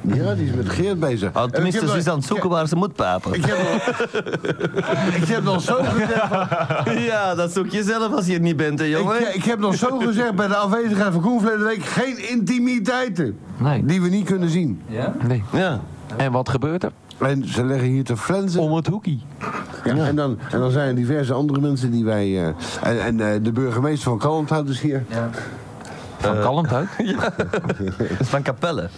[SPEAKER 1] Ja, die is met Eh, Geert bezig.
[SPEAKER 6] Oh,
[SPEAKER 1] En
[SPEAKER 6] tenminste,
[SPEAKER 1] ik heb
[SPEAKER 6] ze is aan het zoeken waar ze moet pijpen.
[SPEAKER 1] nog- Ik heb nog, ik heb nog zo gezegd...
[SPEAKER 6] Ja, dat zoek je zelf als je het niet bent, hè, jongen.
[SPEAKER 1] Ik, ik heb nog zo gezegd bij de afwezigheid van Koen verleden week... geen intimiteiten.
[SPEAKER 2] Nee.
[SPEAKER 1] Die we niet kunnen zien.
[SPEAKER 2] Nee.
[SPEAKER 6] Ja.
[SPEAKER 2] En wat gebeurt er?
[SPEAKER 1] En ze leggen hier te flensen.
[SPEAKER 2] het hoekie.
[SPEAKER 1] Ja, En, dan, en dan zijn er diverse andere mensen die wij... eh, en en eh, de burgemeester van Kalmthout is hier.
[SPEAKER 2] Van
[SPEAKER 6] Eh,
[SPEAKER 2] kalmte uit.
[SPEAKER 6] Van Capelle.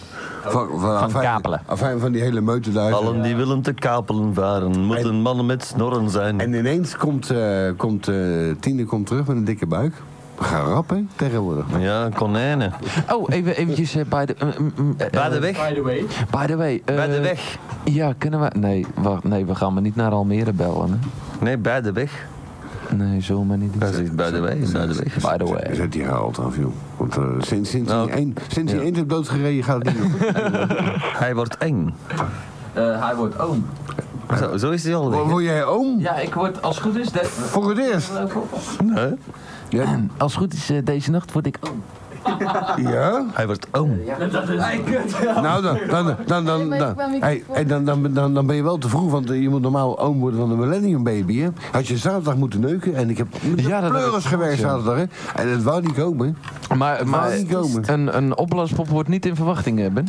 [SPEAKER 1] Van, van, afijn-
[SPEAKER 2] Kapelen.
[SPEAKER 1] afijn van die hele meute daar.
[SPEAKER 6] Allen die willen te kapelen varen, moeten mannen met snorren zijn.
[SPEAKER 1] En ineens komt, eh, komt eh, Tine komt terug met een dikke buik. We gaan rap, hè, tegenwoordig.
[SPEAKER 6] Ja, konijnen.
[SPEAKER 2] Oh, even eventjes eh, bij de... eh, mm, mm, eh,
[SPEAKER 6] Bij de weg.
[SPEAKER 2] By the way. eh,
[SPEAKER 6] Bij de weg.
[SPEAKER 2] Ja, kunnen we... Nee, wacht. Nee, we gaan maar niet naar Almere bellen. Hè.
[SPEAKER 6] Nee, bij de weg.
[SPEAKER 2] Nee, zullen we niet.
[SPEAKER 6] Dat is bij de weg. Bij de weg.
[SPEAKER 2] By the way.
[SPEAKER 1] Zet die haalt af, joh. Want eh, sinds, sinds,
[SPEAKER 6] Nou,
[SPEAKER 1] die een, sinds die eend heeft doodgereden gaat het niet meer goed.
[SPEAKER 6] Hij wordt eng.
[SPEAKER 2] Eh, hij wordt oom.
[SPEAKER 6] Zo, zo is hij al.
[SPEAKER 1] Wo- Word jij oom?
[SPEAKER 2] Ja, ik word als het goed is. de-
[SPEAKER 1] Voor het eerst?
[SPEAKER 6] Nee.
[SPEAKER 1] Ja?
[SPEAKER 2] Als het goed is, eh, deze nacht word ik oom.
[SPEAKER 1] ja?
[SPEAKER 6] Hij wordt oom.
[SPEAKER 1] Nou, dan, dan, dan, dan,
[SPEAKER 5] maar ik
[SPEAKER 1] dan,
[SPEAKER 5] kwam hier
[SPEAKER 1] hey,
[SPEAKER 5] voor-
[SPEAKER 1] hey, dan, dan, dan, dan ben je wel te vroeg, want eh, je moet normaal oom worden van de Millennium Baby. Hè? Had je zaterdag moeten neuken en ik heb
[SPEAKER 2] Ja,
[SPEAKER 1] ja,
[SPEAKER 2] dat heb
[SPEAKER 1] pleuris gewerkt zaterdag. Hè? En het wou niet komen.
[SPEAKER 2] Maar, maar
[SPEAKER 1] Waar die komen?
[SPEAKER 2] een, een opblaaspop wordt niet in verwachting hebben.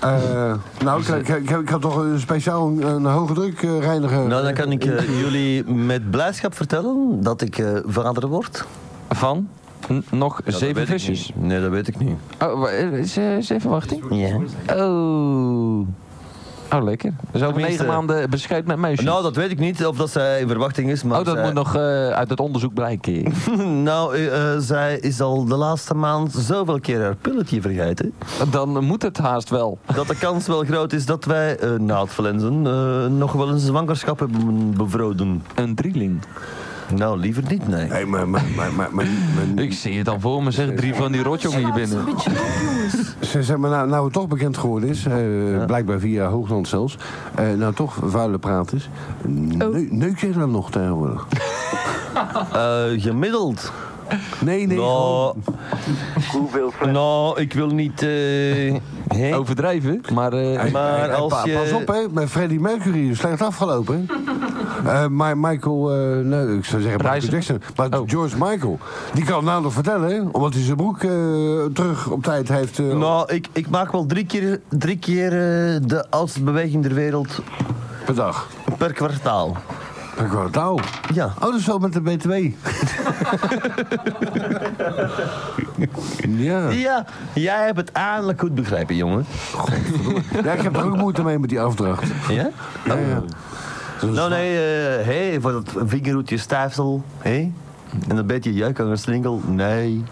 [SPEAKER 1] Eh, nou, ik, ik, ik, ik had toch een speciaal een, een hoge druk eh, reiniger.
[SPEAKER 6] Nou, dan kan ik eh, jullie met blijdschap vertellen dat ik eh, vader word.
[SPEAKER 2] Van n- nog
[SPEAKER 6] Ja, dat
[SPEAKER 2] zeven
[SPEAKER 6] weet ik
[SPEAKER 2] visjes.
[SPEAKER 6] niet. Nee, dat weet ik niet.
[SPEAKER 2] Oh, wa- eh, is, eh, is even wachting?
[SPEAKER 6] Ja.
[SPEAKER 2] Oh. Oh, lekker. Dus over
[SPEAKER 6] Tenminste-
[SPEAKER 2] negen maanden bescheid met muisjes.
[SPEAKER 6] Nou, dat weet ik niet of dat zij in verwachting is, maar
[SPEAKER 2] oh, dat
[SPEAKER 6] zij-
[SPEAKER 2] moet nog eh, uit het onderzoek blijken.
[SPEAKER 6] nou, eh, eh, zij is al de laatste maand zoveel keer haar pilletje vergeten,
[SPEAKER 2] Dan moet het haast wel.
[SPEAKER 6] dat de kans wel groot is dat wij, eh na het verlenzen, eh, nog wel een zwangerschap hebben bevroden.
[SPEAKER 2] Een drieling.
[SPEAKER 6] Nou, liever niet, nee.
[SPEAKER 1] Nee, maar, maar, maar, maar, maar, maar-
[SPEAKER 2] Ik zie het al voor me, zeg. Drie van die rotjongen hier
[SPEAKER 5] Slaat ze een
[SPEAKER 2] binnen.
[SPEAKER 5] beetje op, jongens.
[SPEAKER 1] ze- zeg maar, nou, nou het toch bekend geworden is, eh, blijkbaar via Hoogland zelfs, eh, nou toch vuile praat is,
[SPEAKER 5] Oh.
[SPEAKER 1] neu- neuk je dan nog tegenwoordig?
[SPEAKER 6] Eh, gemiddeld.
[SPEAKER 1] Nee, nee, gewoon-
[SPEAKER 6] Nou,
[SPEAKER 7] Hoeveel
[SPEAKER 6] nou, ik wil niet. eh, hè?
[SPEAKER 2] Overdrijven, maar... eh,
[SPEAKER 1] Hey,
[SPEAKER 6] Maar
[SPEAKER 1] hey, hey,
[SPEAKER 6] als
[SPEAKER 1] pa-
[SPEAKER 6] je-
[SPEAKER 1] Pas op, hè. Met Freddie Mercury is slecht afgelopen. hè. Eh, maar Michael... eh, nee, ik zou zeggen Michael
[SPEAKER 2] Reizen.
[SPEAKER 1] Jackson. Maar
[SPEAKER 6] Oh.
[SPEAKER 1] George Michael. Die kan het namelijk vertellen, hè. Omdat hij zijn broek eh, terug op tijd heeft... eh,
[SPEAKER 6] Nou, ik, ik maak wel drie keer, drie keer eh, de oudste beweging ter wereld
[SPEAKER 1] per dag.
[SPEAKER 6] per kwartaal.
[SPEAKER 1] Per kwartaal.
[SPEAKER 6] Ja.
[SPEAKER 1] Oh, dat is wel met de BTW. ja.
[SPEAKER 6] Ja, jij hebt het aardig goed begrepen, jongen.
[SPEAKER 1] ja. Ik heb er ook moeite mee met die afdracht.
[SPEAKER 6] Ja?
[SPEAKER 1] Ja, ja.
[SPEAKER 6] Nou nee, eh, hé, voor dat vingerhoedje stijfsel, hé. En een beetje jeuk aan een slinkel, nee.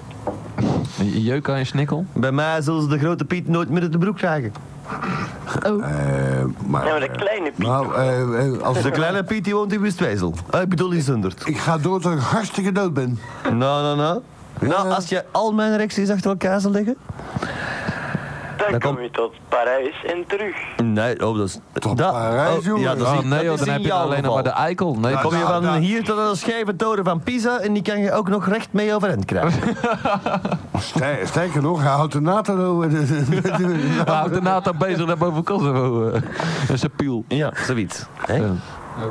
[SPEAKER 2] Jeuk aan je snikkel.
[SPEAKER 6] Bij mij zullen ze de grote Piet nooit meer uit de broek krijgen.
[SPEAKER 1] Eh, maar...
[SPEAKER 4] Ja, maar de kleine Piet.
[SPEAKER 1] Nou, eh, eh, als
[SPEAKER 6] De kleine Piet die woont in Westwezel. Eh, ik bedoel in Zundert.
[SPEAKER 1] Ik ga door tot ik hartstikke dood ben.
[SPEAKER 6] Nou, nou, nou. Nou, als je al mijn reacties achter elkaar zal leggen.
[SPEAKER 4] Dan
[SPEAKER 6] kom-
[SPEAKER 4] kom je tot Parijs en terug.
[SPEAKER 6] Nee, oh, dat is...
[SPEAKER 1] Tot
[SPEAKER 6] dat-
[SPEAKER 1] Parijs,
[SPEAKER 6] oh,
[SPEAKER 1] jongen.
[SPEAKER 6] Ja, dat is,
[SPEAKER 2] Oh,
[SPEAKER 6] niet-
[SPEAKER 2] nee,
[SPEAKER 6] dat
[SPEAKER 2] joh,
[SPEAKER 6] is
[SPEAKER 2] dan
[SPEAKER 6] in
[SPEAKER 2] heb je
[SPEAKER 6] jouw
[SPEAKER 2] alleen nog
[SPEAKER 6] geval.
[SPEAKER 2] maar de eikel. Nee,
[SPEAKER 1] Nou,
[SPEAKER 2] kom
[SPEAKER 6] Kom je
[SPEAKER 2] je
[SPEAKER 6] van
[SPEAKER 1] daar.
[SPEAKER 6] hier tot aan de scheve toren van Pisa en die kan je ook nog recht mee overeind krijgen.
[SPEAKER 1] Ster- Sterker nog, hij houdt de NATO... eh, de- de- de- de-
[SPEAKER 2] We houden de NATO bezig daar boven Kosovo. eh. Dat is een piel.
[SPEAKER 6] ja, zoiets. Hè?
[SPEAKER 2] Ja.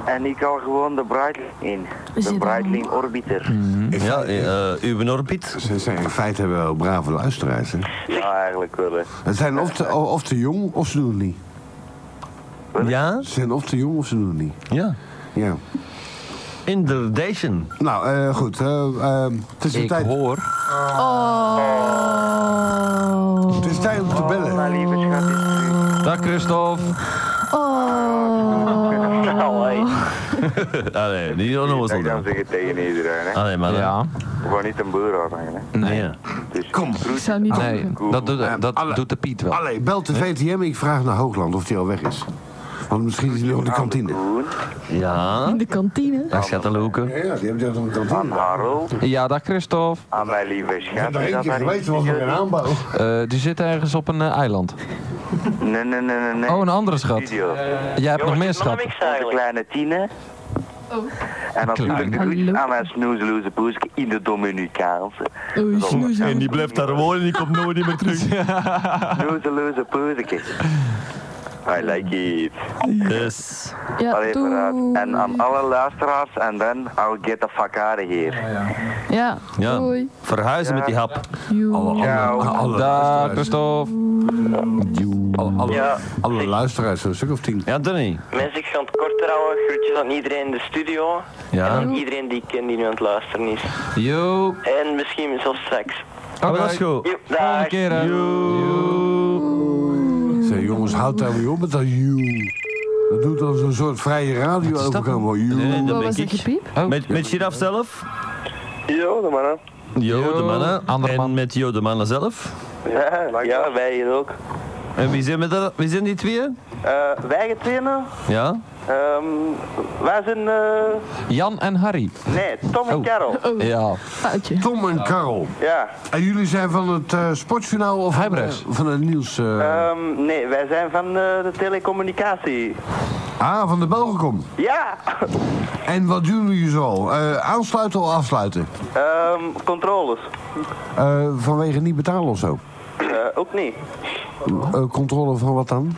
[SPEAKER 7] En ik haal gewoon de Breitling in.
[SPEAKER 5] Is
[SPEAKER 7] De
[SPEAKER 5] dit
[SPEAKER 7] Breitling Orbiter.
[SPEAKER 1] Hmm.
[SPEAKER 6] Ja, eh uw Norbit.
[SPEAKER 1] Ze zijn in feite hebben we wel brave luisteraars. Hè?
[SPEAKER 7] Ja, Nou, eigenlijk wel. hè.
[SPEAKER 1] Het zijn of te, of te jong of ze doen het niet.
[SPEAKER 6] Ja?
[SPEAKER 1] Ze zijn of te jong of ze doen het niet.
[SPEAKER 6] Ja.
[SPEAKER 1] Ja.
[SPEAKER 6] Inderdaad.
[SPEAKER 1] Nou, eh, goed. eh, eh, het is weer
[SPEAKER 2] Ik
[SPEAKER 1] tijd.
[SPEAKER 2] hoor.
[SPEAKER 5] Oh.
[SPEAKER 1] Het is tijd om te bellen.
[SPEAKER 2] Oh.
[SPEAKER 7] Maar Nou, lieve schat, is terug.
[SPEAKER 2] Dag Christophe.
[SPEAKER 5] Oh.
[SPEAKER 7] Nou, hé.
[SPEAKER 6] Allee, niet aan
[SPEAKER 7] Dat kan zeggen tegen iedereen,
[SPEAKER 1] Ah.
[SPEAKER 7] hè.
[SPEAKER 6] Allee, maar dan-
[SPEAKER 2] Ja.
[SPEAKER 7] Gewoon niet een boer aanhangen, hè.
[SPEAKER 6] Nee. Ja.
[SPEAKER 7] Dus
[SPEAKER 1] Hmm. Kom.
[SPEAKER 5] Ik zou niet
[SPEAKER 2] Nee,
[SPEAKER 5] doen.
[SPEAKER 2] dat, doet, dat
[SPEAKER 1] Alle-
[SPEAKER 2] doet de Piet wel.
[SPEAKER 1] Allee, bel de VTM. Ik vraag naar Hoogland of die al weg is. Want misschien is hij nog in de kantine.
[SPEAKER 7] Koen,
[SPEAKER 6] Ja.
[SPEAKER 5] In de kantine.
[SPEAKER 6] Dag, schattenloeken.
[SPEAKER 1] Ja, ja, die hebben toch in de
[SPEAKER 2] Ah,
[SPEAKER 7] aan
[SPEAKER 1] kantine.
[SPEAKER 7] Harold,
[SPEAKER 2] Ja, dag Christophe.
[SPEAKER 7] aan mijn lieve
[SPEAKER 1] Ik
[SPEAKER 7] schat.
[SPEAKER 1] heb er
[SPEAKER 7] is
[SPEAKER 1] één
[SPEAKER 7] dat
[SPEAKER 1] keer
[SPEAKER 7] daar
[SPEAKER 1] geweest,
[SPEAKER 7] iets?
[SPEAKER 1] er was nog
[SPEAKER 7] Is
[SPEAKER 1] geen
[SPEAKER 7] dat-
[SPEAKER 1] aanbouw.
[SPEAKER 2] Eh, die zit ergens op een eh, eiland.
[SPEAKER 7] Nee, nee, nee, nee, nee.
[SPEAKER 2] Oh, een andere schat.
[SPEAKER 7] Studio.
[SPEAKER 2] Jij hebt nog meer
[SPEAKER 4] Jongens,
[SPEAKER 2] schat.
[SPEAKER 4] niks
[SPEAKER 7] Onze
[SPEAKER 4] eigenlijk.
[SPEAKER 7] kleine Tine.
[SPEAKER 5] Oh.
[SPEAKER 7] En natuurlijk de
[SPEAKER 5] Hallo. Oh,
[SPEAKER 7] groet aan mijn snoezeloze poeske in de Dominicaanse.
[SPEAKER 5] Oei, snoezen.
[SPEAKER 6] En die blijft daar wonen, die komt nooit meer terug.
[SPEAKER 7] Snoezeloze poeske. I like it.
[SPEAKER 6] Dus.
[SPEAKER 5] Ja,
[SPEAKER 7] Allee, vooruit. En aan
[SPEAKER 5] doei.
[SPEAKER 7] alle luisteraars en dan I'll get the fuck out of here.
[SPEAKER 4] eh,
[SPEAKER 5] Ja,
[SPEAKER 6] Ja.
[SPEAKER 5] doei.
[SPEAKER 6] Verhuizen met die hap.
[SPEAKER 5] Joe.
[SPEAKER 1] Alle, alle,
[SPEAKER 2] Dag
[SPEAKER 1] luisteraars,
[SPEAKER 2] Christophe.
[SPEAKER 1] alle, alle,
[SPEAKER 4] Ja.
[SPEAKER 1] alle luisteraars, een stuk of tien.
[SPEAKER 6] Ja, Danny.
[SPEAKER 4] Mensen, ik ga het kort houden. Groetjes aan iedereen in de studio. En
[SPEAKER 6] Ja.
[SPEAKER 4] aan iedereen die ik ken die nu aan het luisteren is.
[SPEAKER 2] Yo.
[SPEAKER 4] En misschien zelfs straks.
[SPEAKER 6] Oh, dat is goed.
[SPEAKER 4] Joep,
[SPEAKER 2] Volgende
[SPEAKER 4] dag.
[SPEAKER 2] keer. eh, hè.
[SPEAKER 1] Zeg, jongens, houd daar mee op met dat joe. Dat doet dan zo'n soort vrije radio
[SPEAKER 2] is dat?
[SPEAKER 1] overkomen. Joe.
[SPEAKER 6] Nee, nee,
[SPEAKER 5] Wat
[SPEAKER 6] dat
[SPEAKER 5] was
[SPEAKER 6] ben
[SPEAKER 5] dat
[SPEAKER 6] ik.
[SPEAKER 5] gepiep?
[SPEAKER 2] Oh.
[SPEAKER 6] Met, met Giraf zelf.
[SPEAKER 4] Yo, de mannen.
[SPEAKER 6] Jo,
[SPEAKER 2] Jo,
[SPEAKER 6] de mannen.
[SPEAKER 2] andere
[SPEAKER 6] en
[SPEAKER 2] man.
[SPEAKER 6] met Jo, de mannen zelf.
[SPEAKER 4] Ja, ja, wij hier ook.
[SPEAKER 2] En wie zijn, we daar, wie zijn die tweeën?
[SPEAKER 4] Eh, wij getenen,
[SPEAKER 2] Ja?
[SPEAKER 4] ehm, wij zijn, eh,
[SPEAKER 2] Jan en Harry.
[SPEAKER 4] nee, Tom en Karel.
[SPEAKER 2] Ja.
[SPEAKER 5] Foutje.
[SPEAKER 1] Tom
[SPEAKER 6] Oh.
[SPEAKER 1] en Karel.
[SPEAKER 4] Ja,
[SPEAKER 1] En jullie zijn van het eh, sportjournaal of van, eh,
[SPEAKER 2] Huibrechts.
[SPEAKER 1] van het nieuws? eh,
[SPEAKER 4] ehm, nee, wij zijn van eh, de telecommunicatie.
[SPEAKER 1] ah, van de Belgicom.
[SPEAKER 4] Ja,
[SPEAKER 1] En wat doen jullie zoal? Eh, aansluiten of afsluiten?
[SPEAKER 4] ehm, controles.
[SPEAKER 1] Eh, vanwege niet betalen of zo?
[SPEAKER 4] Eh, ook niet.
[SPEAKER 1] Eh, controle van wat dan?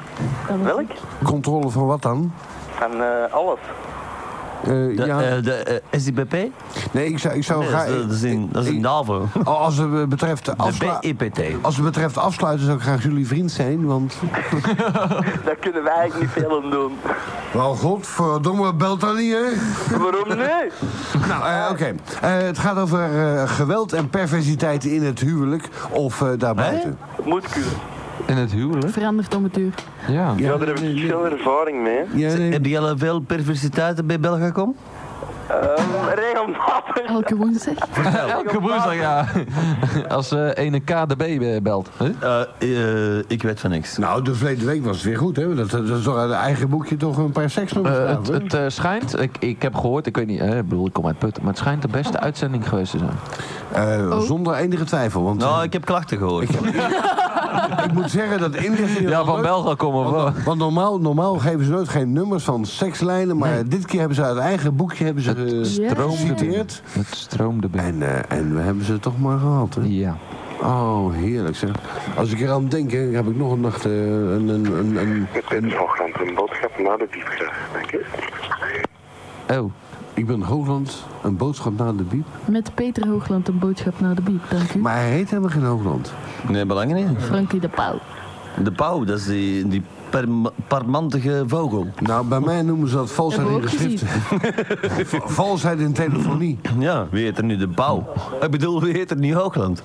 [SPEAKER 4] Welk?
[SPEAKER 1] Controle van wat dan?
[SPEAKER 4] Van eh, alles.
[SPEAKER 1] Eh,
[SPEAKER 6] De,
[SPEAKER 1] ja.
[SPEAKER 6] eh, de eh, SDPP? Nee,
[SPEAKER 1] nee, ik zou, ik zou
[SPEAKER 6] dat,
[SPEAKER 1] graag...
[SPEAKER 6] is, dat is in, dat is in NAVO.
[SPEAKER 1] Als het eh, betreft
[SPEAKER 6] De
[SPEAKER 1] afsluiten...
[SPEAKER 6] BIPT.
[SPEAKER 1] Als het betreft afsluiten zou ik graag jullie vriend zijn, want...
[SPEAKER 4] Daar kunnen wij eigenlijk niet veel aan doen.
[SPEAKER 1] Wel, godverdomme, belt dan niet, hè?
[SPEAKER 4] Waarom nu?
[SPEAKER 1] Nou, eh, oké. Eh, het gaat over eh, geweld en perversiteit in het huwelijk of eh, daarbuiten.
[SPEAKER 4] Moet kunnen.
[SPEAKER 2] In het huwelijk?
[SPEAKER 5] Veranderd om het uur.
[SPEAKER 2] Ja.
[SPEAKER 1] Ja,
[SPEAKER 7] daar heb ik veel ervaring mee.
[SPEAKER 1] Ja, nee.
[SPEAKER 6] Heb jij al veel perversiteiten bij Belgacom?
[SPEAKER 4] Ehm, regelmatig.
[SPEAKER 5] Elke woensdag.
[SPEAKER 2] Elke woensdag, ja. Als eh ene KDB belt. Huh?
[SPEAKER 6] Eh, eh, ik weet van niks.
[SPEAKER 1] Nou, de verleden week was het weer goed, hè? Dat, dat is toch uit eigen boekje toch een paar seksnummers
[SPEAKER 2] Eh,
[SPEAKER 1] staan,
[SPEAKER 2] het
[SPEAKER 1] hè?
[SPEAKER 2] het eh, schijnt, ik, ik heb gehoord, ik weet niet, eh, ik bedoel, ik kom uit Putten, maar het schijnt de beste uitzending geweest te zijn.
[SPEAKER 1] Eh, Zonder enige twijfel, want eh,
[SPEAKER 6] Nou, ik heb klachten gehoord.
[SPEAKER 1] ik, moet zeggen dat inlichtingen...
[SPEAKER 2] Ja,
[SPEAKER 1] wel
[SPEAKER 2] van
[SPEAKER 1] leuk-
[SPEAKER 2] Belga komen we. wel.
[SPEAKER 1] Want, want normaal, normaal geven ze nooit geen nummers van sekslijnen, maar dit keer hebben ze uit eigen boekje hebben ze eh, geciteerd.
[SPEAKER 2] Het stroomde binnen.
[SPEAKER 1] En, eh, en we hebben ze toch maar gehad, hè?
[SPEAKER 2] Ja.
[SPEAKER 1] Oh, heerlijk zeg. Als ik eraan denk, hè, heb ik nog een nacht eh, een, een, een, een-
[SPEAKER 7] Het is Hoogland een boodschap na de diepgraaf, denk ik.
[SPEAKER 2] Oh,
[SPEAKER 1] Ik ben Hoogland, een boodschap na de biep.
[SPEAKER 5] Met Peter Hoogland een boodschap naar de biep. Dank u.
[SPEAKER 1] Hm? Maar hij heet helemaal geen Hoogland.
[SPEAKER 6] Nee, belangrijk niet.
[SPEAKER 5] Frankie de Pauw.
[SPEAKER 6] De pauw, dat is die, die perm- parmantige vogel.
[SPEAKER 1] Nou, bij mij noemen ze dat valsheid in
[SPEAKER 5] Hebben we ook
[SPEAKER 1] geschrift. Va- valsheid in telefonie.
[SPEAKER 6] Ja, wie heet er nu de pauw? Ik bedoel, wie heet er nu Hoogland?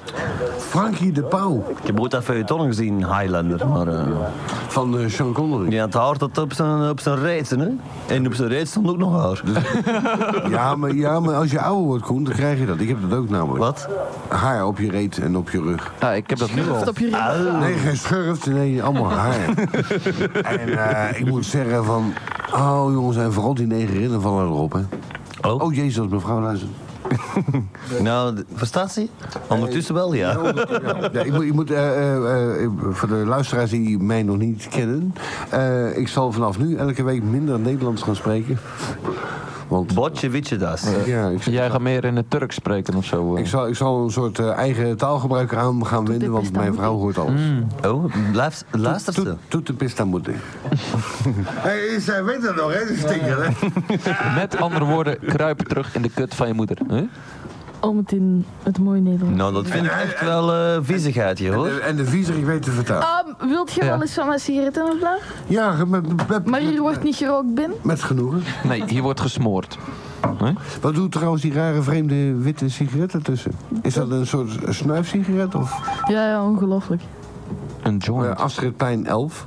[SPEAKER 1] Frankie de Pauw
[SPEAKER 6] Ik heb ooit dat feuilleton gezien, Highlander. Maar eh,
[SPEAKER 1] van eh, Sean Connery.
[SPEAKER 6] die had haar tot op zijn, op zijn reetsen, hè? Dus En op zijn reet stond ook nog haar.
[SPEAKER 1] Ja maar, ja, maar als je ouder wordt, Koen, dan krijg je dat. Ik heb dat ook namelijk.
[SPEAKER 6] Wat?
[SPEAKER 1] Haar op je reet en op je rug.
[SPEAKER 2] nou, ik heb dat nu al.
[SPEAKER 5] Op je rug.
[SPEAKER 1] Nee, geen schurft, nee, allemaal haar. en eh, ik moet zeggen van... Oh jongens, en vooral die negerinnen vallen erop, hè.
[SPEAKER 6] Oh.
[SPEAKER 1] Oh jezus, mevrouw luistert.
[SPEAKER 6] Nou, d- verstaat ze? Ondertussen wel, ja.
[SPEAKER 1] Ja, ik moet, ik moet eh, eh, eh, voor de luisteraars die mij nog niet kennen, eh, ik zal vanaf nu elke week minder Nederlands gaan spreken. Want eh,
[SPEAKER 6] Botje, witje, das.
[SPEAKER 1] ja, ik,
[SPEAKER 2] Jij gaat meer in het Turks spreken of zo. eh.
[SPEAKER 1] ik, zal, ik zal een soort eh, eigen taalgebruik aan gaan wenden,
[SPEAKER 5] de
[SPEAKER 1] want
[SPEAKER 5] best aan
[SPEAKER 1] mijn
[SPEAKER 5] moet
[SPEAKER 1] vrouw
[SPEAKER 5] ik.
[SPEAKER 1] hoort alles.
[SPEAKER 6] Oh, luister- luistert ze?
[SPEAKER 1] Toet de pista moet in. Hey, zij weet dat nog, hè? Die stinker, hè?
[SPEAKER 2] Met andere woorden, kruip terug in de kut van je moeder. Huh?
[SPEAKER 5] Om het in het mooie Nederlands.
[SPEAKER 6] Nou, dat vind ik echt wel eh viezigheid hier,
[SPEAKER 1] En de-
[SPEAKER 6] hoor.
[SPEAKER 1] En de viezer, ik weet te vertalen.
[SPEAKER 5] Ehm, wilt je
[SPEAKER 2] Ja.
[SPEAKER 5] wel eens van mijn sigaretten of blauw?
[SPEAKER 1] Ja, met, met,
[SPEAKER 5] Maar hier wordt niet gerookt binnen.
[SPEAKER 1] met genoegen.
[SPEAKER 2] Nee, hier wordt gesmoord.
[SPEAKER 1] Wat doet trouwens die rare vreemde witte sigaret ertussen? Is dat een soort snuifsigaret of
[SPEAKER 5] Ja, ja, ongelooflijk.
[SPEAKER 2] Een
[SPEAKER 1] eh,
[SPEAKER 2] joint.
[SPEAKER 1] Astrid Plein 11?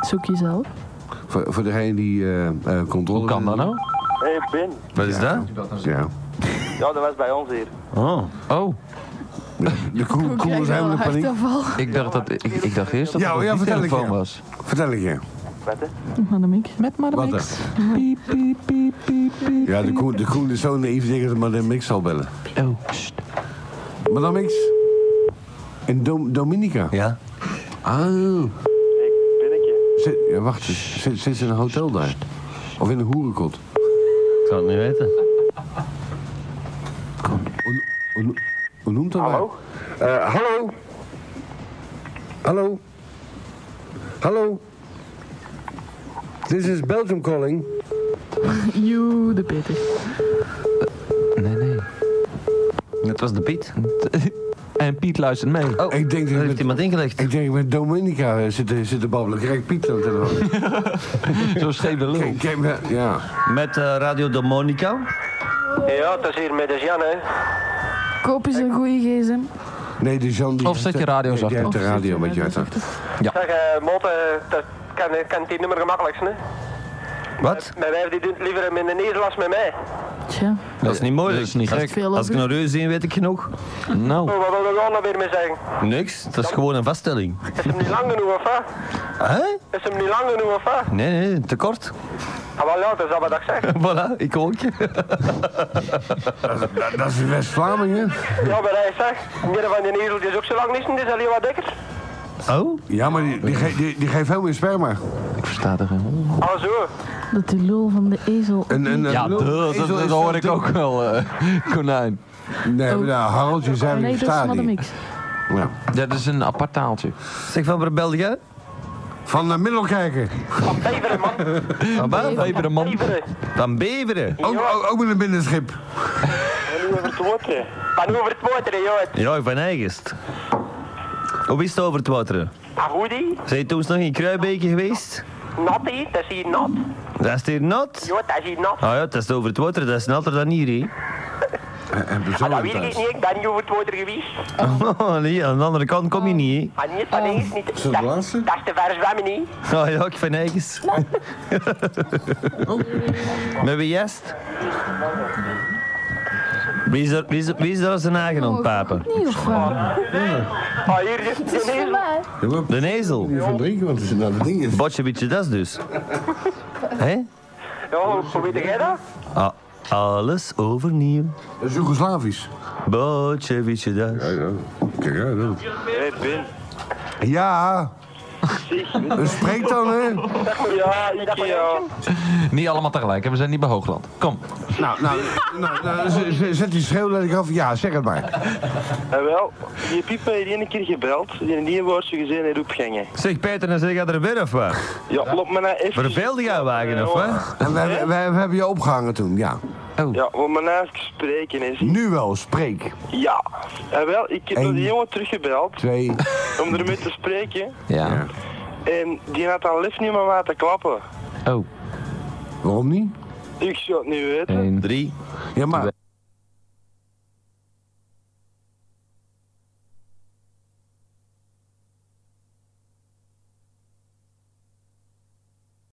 [SPEAKER 5] Zoek jezelf.
[SPEAKER 1] Voor, voor degene die eh, eh, controle...
[SPEAKER 2] Hoe kan dat nou?
[SPEAKER 4] Hé, hey, Ben.
[SPEAKER 6] Wat is dat?
[SPEAKER 1] Ja.
[SPEAKER 4] Ja, dat was bij ons hier.
[SPEAKER 6] Oh.
[SPEAKER 2] Oh,
[SPEAKER 1] De koe, koe is helemaal in paniek.
[SPEAKER 5] hartaanval.
[SPEAKER 2] ik dacht, dat, ik, ik dacht eerst dat
[SPEAKER 1] Ja,
[SPEAKER 2] het
[SPEAKER 1] ja,
[SPEAKER 2] die
[SPEAKER 1] vertel ik,
[SPEAKER 2] telefoon
[SPEAKER 1] ja.
[SPEAKER 2] was.
[SPEAKER 1] Vertel ik je.
[SPEAKER 4] Wat, hè?
[SPEAKER 5] Maar dan ben ik- Met
[SPEAKER 1] Wat
[SPEAKER 5] Madame X. Piep, piep, piep, piep, piep.
[SPEAKER 1] Ja, de koe, de koe is zo naïef ik denk dat Madame Mix zal bellen.
[SPEAKER 2] Oh, sst.
[SPEAKER 1] Madame Mix? In Dom- Dominica?
[SPEAKER 6] Ja.
[SPEAKER 1] Ah.
[SPEAKER 4] Ik ben ik je.
[SPEAKER 1] Zit, ja, wacht, zit, zit ze in een hotel daar? Of in een hoerenkot?
[SPEAKER 6] Ik zou het niet weten.
[SPEAKER 1] Hoe, no- hoe noemt dat?
[SPEAKER 4] Hallo?
[SPEAKER 1] Eh, hallo? Hallo? Hallo? This is Belgium calling.
[SPEAKER 5] Joe, de Peter.
[SPEAKER 2] Nee, nee.
[SPEAKER 6] Het was de Piet.
[SPEAKER 2] En Piet luistert mee.
[SPEAKER 6] Oh,
[SPEAKER 1] Ik denk dat
[SPEAKER 6] daar
[SPEAKER 1] het-
[SPEAKER 6] heeft iemand ingelegd.
[SPEAKER 1] Ik denk met Dominica eh, zit, zit te babbelen. Krijg ik Piet aan de telefoon.
[SPEAKER 2] Zo'n scheve lul.
[SPEAKER 1] Kijk, kijk, maar- ja.
[SPEAKER 6] Met eh, Radio de Monica.
[SPEAKER 4] Ja, dat is hier met de Jan, hè?
[SPEAKER 5] Koop eens een goede gsm.
[SPEAKER 1] Nee, de Jean die...
[SPEAKER 2] Of zet je radio
[SPEAKER 1] Nee, die
[SPEAKER 2] zachter.
[SPEAKER 1] heeft de
[SPEAKER 5] Of zet
[SPEAKER 1] radio
[SPEAKER 5] je
[SPEAKER 1] met je
[SPEAKER 5] radio
[SPEAKER 1] hart.
[SPEAKER 4] Zeg, eh, Mot, eh, dat kan, kan die nummer gemakkelijkst, hè?
[SPEAKER 6] Wat?
[SPEAKER 4] Mijn wijf die doet liever met een Nederlands met mij.
[SPEAKER 5] Tja.
[SPEAKER 6] Dat is niet moeilijk.
[SPEAKER 2] Dat is niet
[SPEAKER 6] Als-
[SPEAKER 2] gek.
[SPEAKER 5] Veel
[SPEAKER 6] Als ik
[SPEAKER 5] over.
[SPEAKER 6] een reus zie, weet ik genoeg.
[SPEAKER 2] Nou,
[SPEAKER 10] Wat wil je nou weer mee zeggen?
[SPEAKER 6] Niks. Dat is gewoon een vaststelling.
[SPEAKER 10] Is hem niet lang genoeg of hè?
[SPEAKER 6] Hè?
[SPEAKER 10] Is hem niet lang genoeg of hè?
[SPEAKER 6] Nee, nee, te kort.
[SPEAKER 10] Ah, wel ja, dat is dat wat ik zeg.
[SPEAKER 6] voilà, ik ook.
[SPEAKER 1] Dat, dat is in West-Vlamingen.
[SPEAKER 10] Ja, maar hij zegt, meneer van den Ezel die is ook zo lang niet, die is alleen wat dikker.
[SPEAKER 6] Oh?
[SPEAKER 1] Ja, maar die, die, ge- die, die geeft veel meer sperma.
[SPEAKER 2] ik versta er helemaal niet.
[SPEAKER 10] Ah zo.
[SPEAKER 5] Dat die lul van de ezel.
[SPEAKER 1] En, en,
[SPEAKER 2] Ja,
[SPEAKER 1] en-
[SPEAKER 2] duh, dat,
[SPEAKER 1] Ezel
[SPEAKER 2] dat
[SPEAKER 1] is
[SPEAKER 2] hoor
[SPEAKER 1] veel
[SPEAKER 2] ik
[SPEAKER 1] dun.
[SPEAKER 2] ook wel, eh, konijn.
[SPEAKER 1] Nee, maar nou, Harold, je zei
[SPEAKER 5] Oh, nee,
[SPEAKER 1] weer
[SPEAKER 5] dat is
[SPEAKER 1] staat
[SPEAKER 5] Madame
[SPEAKER 1] niet.
[SPEAKER 5] Mix.
[SPEAKER 1] Ja.
[SPEAKER 2] Dat is een apart taaltje.
[SPEAKER 6] Zeg van waar bel jij?
[SPEAKER 1] Van de middelkijker.
[SPEAKER 10] Van Beveren, man.
[SPEAKER 6] Van waar?
[SPEAKER 2] Even de man.
[SPEAKER 10] Beveren.
[SPEAKER 6] Van Beveren.
[SPEAKER 1] Ook, ook, ook met een binnenschip.
[SPEAKER 10] En nu over het wateren. Maar nu over het wateren, joh.
[SPEAKER 6] Ja, van Eigest. Hoe is het over het wateren?
[SPEAKER 10] Ah, goed, hè?
[SPEAKER 6] Zijn je toen eens nog in Kruibeke geweest?
[SPEAKER 10] Nat, hè? Dat is hier nat.
[SPEAKER 6] Dat is hier nat.
[SPEAKER 10] Joh, dat is hier nat.
[SPEAKER 6] Ah ja, dat is over het water, dat is natter dan hier, hè?
[SPEAKER 1] En de
[SPEAKER 10] Ah, dat
[SPEAKER 1] zoon
[SPEAKER 10] weet ik
[SPEAKER 1] thuis.
[SPEAKER 10] niet, ik ben niet over het water geweest.
[SPEAKER 6] nee, aan de andere kant kom je niet,
[SPEAKER 10] Ah, niet van eens, niet. Is
[SPEAKER 1] dat de laatste?
[SPEAKER 10] Dat is te ver zwemmen, hè?
[SPEAKER 6] hè? Ah ja, ik van Eigest. Met wie jest? Wie is, er, wie, is, wie is daar zijn eigen aan het papen?
[SPEAKER 5] Niet of waar?
[SPEAKER 10] Ah, hier, de de Ezel.
[SPEAKER 1] Ja, maar
[SPEAKER 6] De nezel.
[SPEAKER 1] even drinken, want het is nou de ding is.
[SPEAKER 6] Botje beetje das dus. Hé?
[SPEAKER 10] Ja, hoe- hoe weet jij dat?
[SPEAKER 6] Ah, alles overnieuw.
[SPEAKER 1] Dat is Joegoslavisch.
[SPEAKER 6] Botje beetje das.
[SPEAKER 1] Kijk uit, dat.
[SPEAKER 4] Hé, Ben.
[SPEAKER 1] Ja,
[SPEAKER 4] Zeg, Ben.
[SPEAKER 1] dat spreekt Eh, dan, hè?
[SPEAKER 10] Zeg maar, ja, ik eh, ja.
[SPEAKER 2] Niet allemaal tegelijk, hè, we zijn niet bij Hoogland. Kom.
[SPEAKER 1] Nou, nou, nou, nou, z- z- zet die schreeuw dat ik af. Ja, zeg het maar.
[SPEAKER 4] En Eh, wel, die Piep heeft die ene keer gebeld. Die en die woordje gezien in opgangen.
[SPEAKER 6] Zeg Peter, dan zeg jij er weer of wat?
[SPEAKER 4] Ja, klopt me nou even.
[SPEAKER 6] Verveelde jij wagen of wat?
[SPEAKER 1] En we, hebben- we, we hebben je opgehangen toen, ja.
[SPEAKER 4] Ja, we me nou even spreken is.
[SPEAKER 1] Nu wel, spreek.
[SPEAKER 4] Ja. En wel, ik heb
[SPEAKER 1] Eén.
[SPEAKER 4] naar die jongen teruggebeld
[SPEAKER 1] Twee.
[SPEAKER 4] om ermee te spreken.
[SPEAKER 2] Ja.
[SPEAKER 4] En die had al lief niet meer laten klappen.
[SPEAKER 2] Oh,
[SPEAKER 1] Waarom niet?
[SPEAKER 4] Ik zou het niet weten.
[SPEAKER 2] één.
[SPEAKER 6] Drie.
[SPEAKER 1] Ja, maar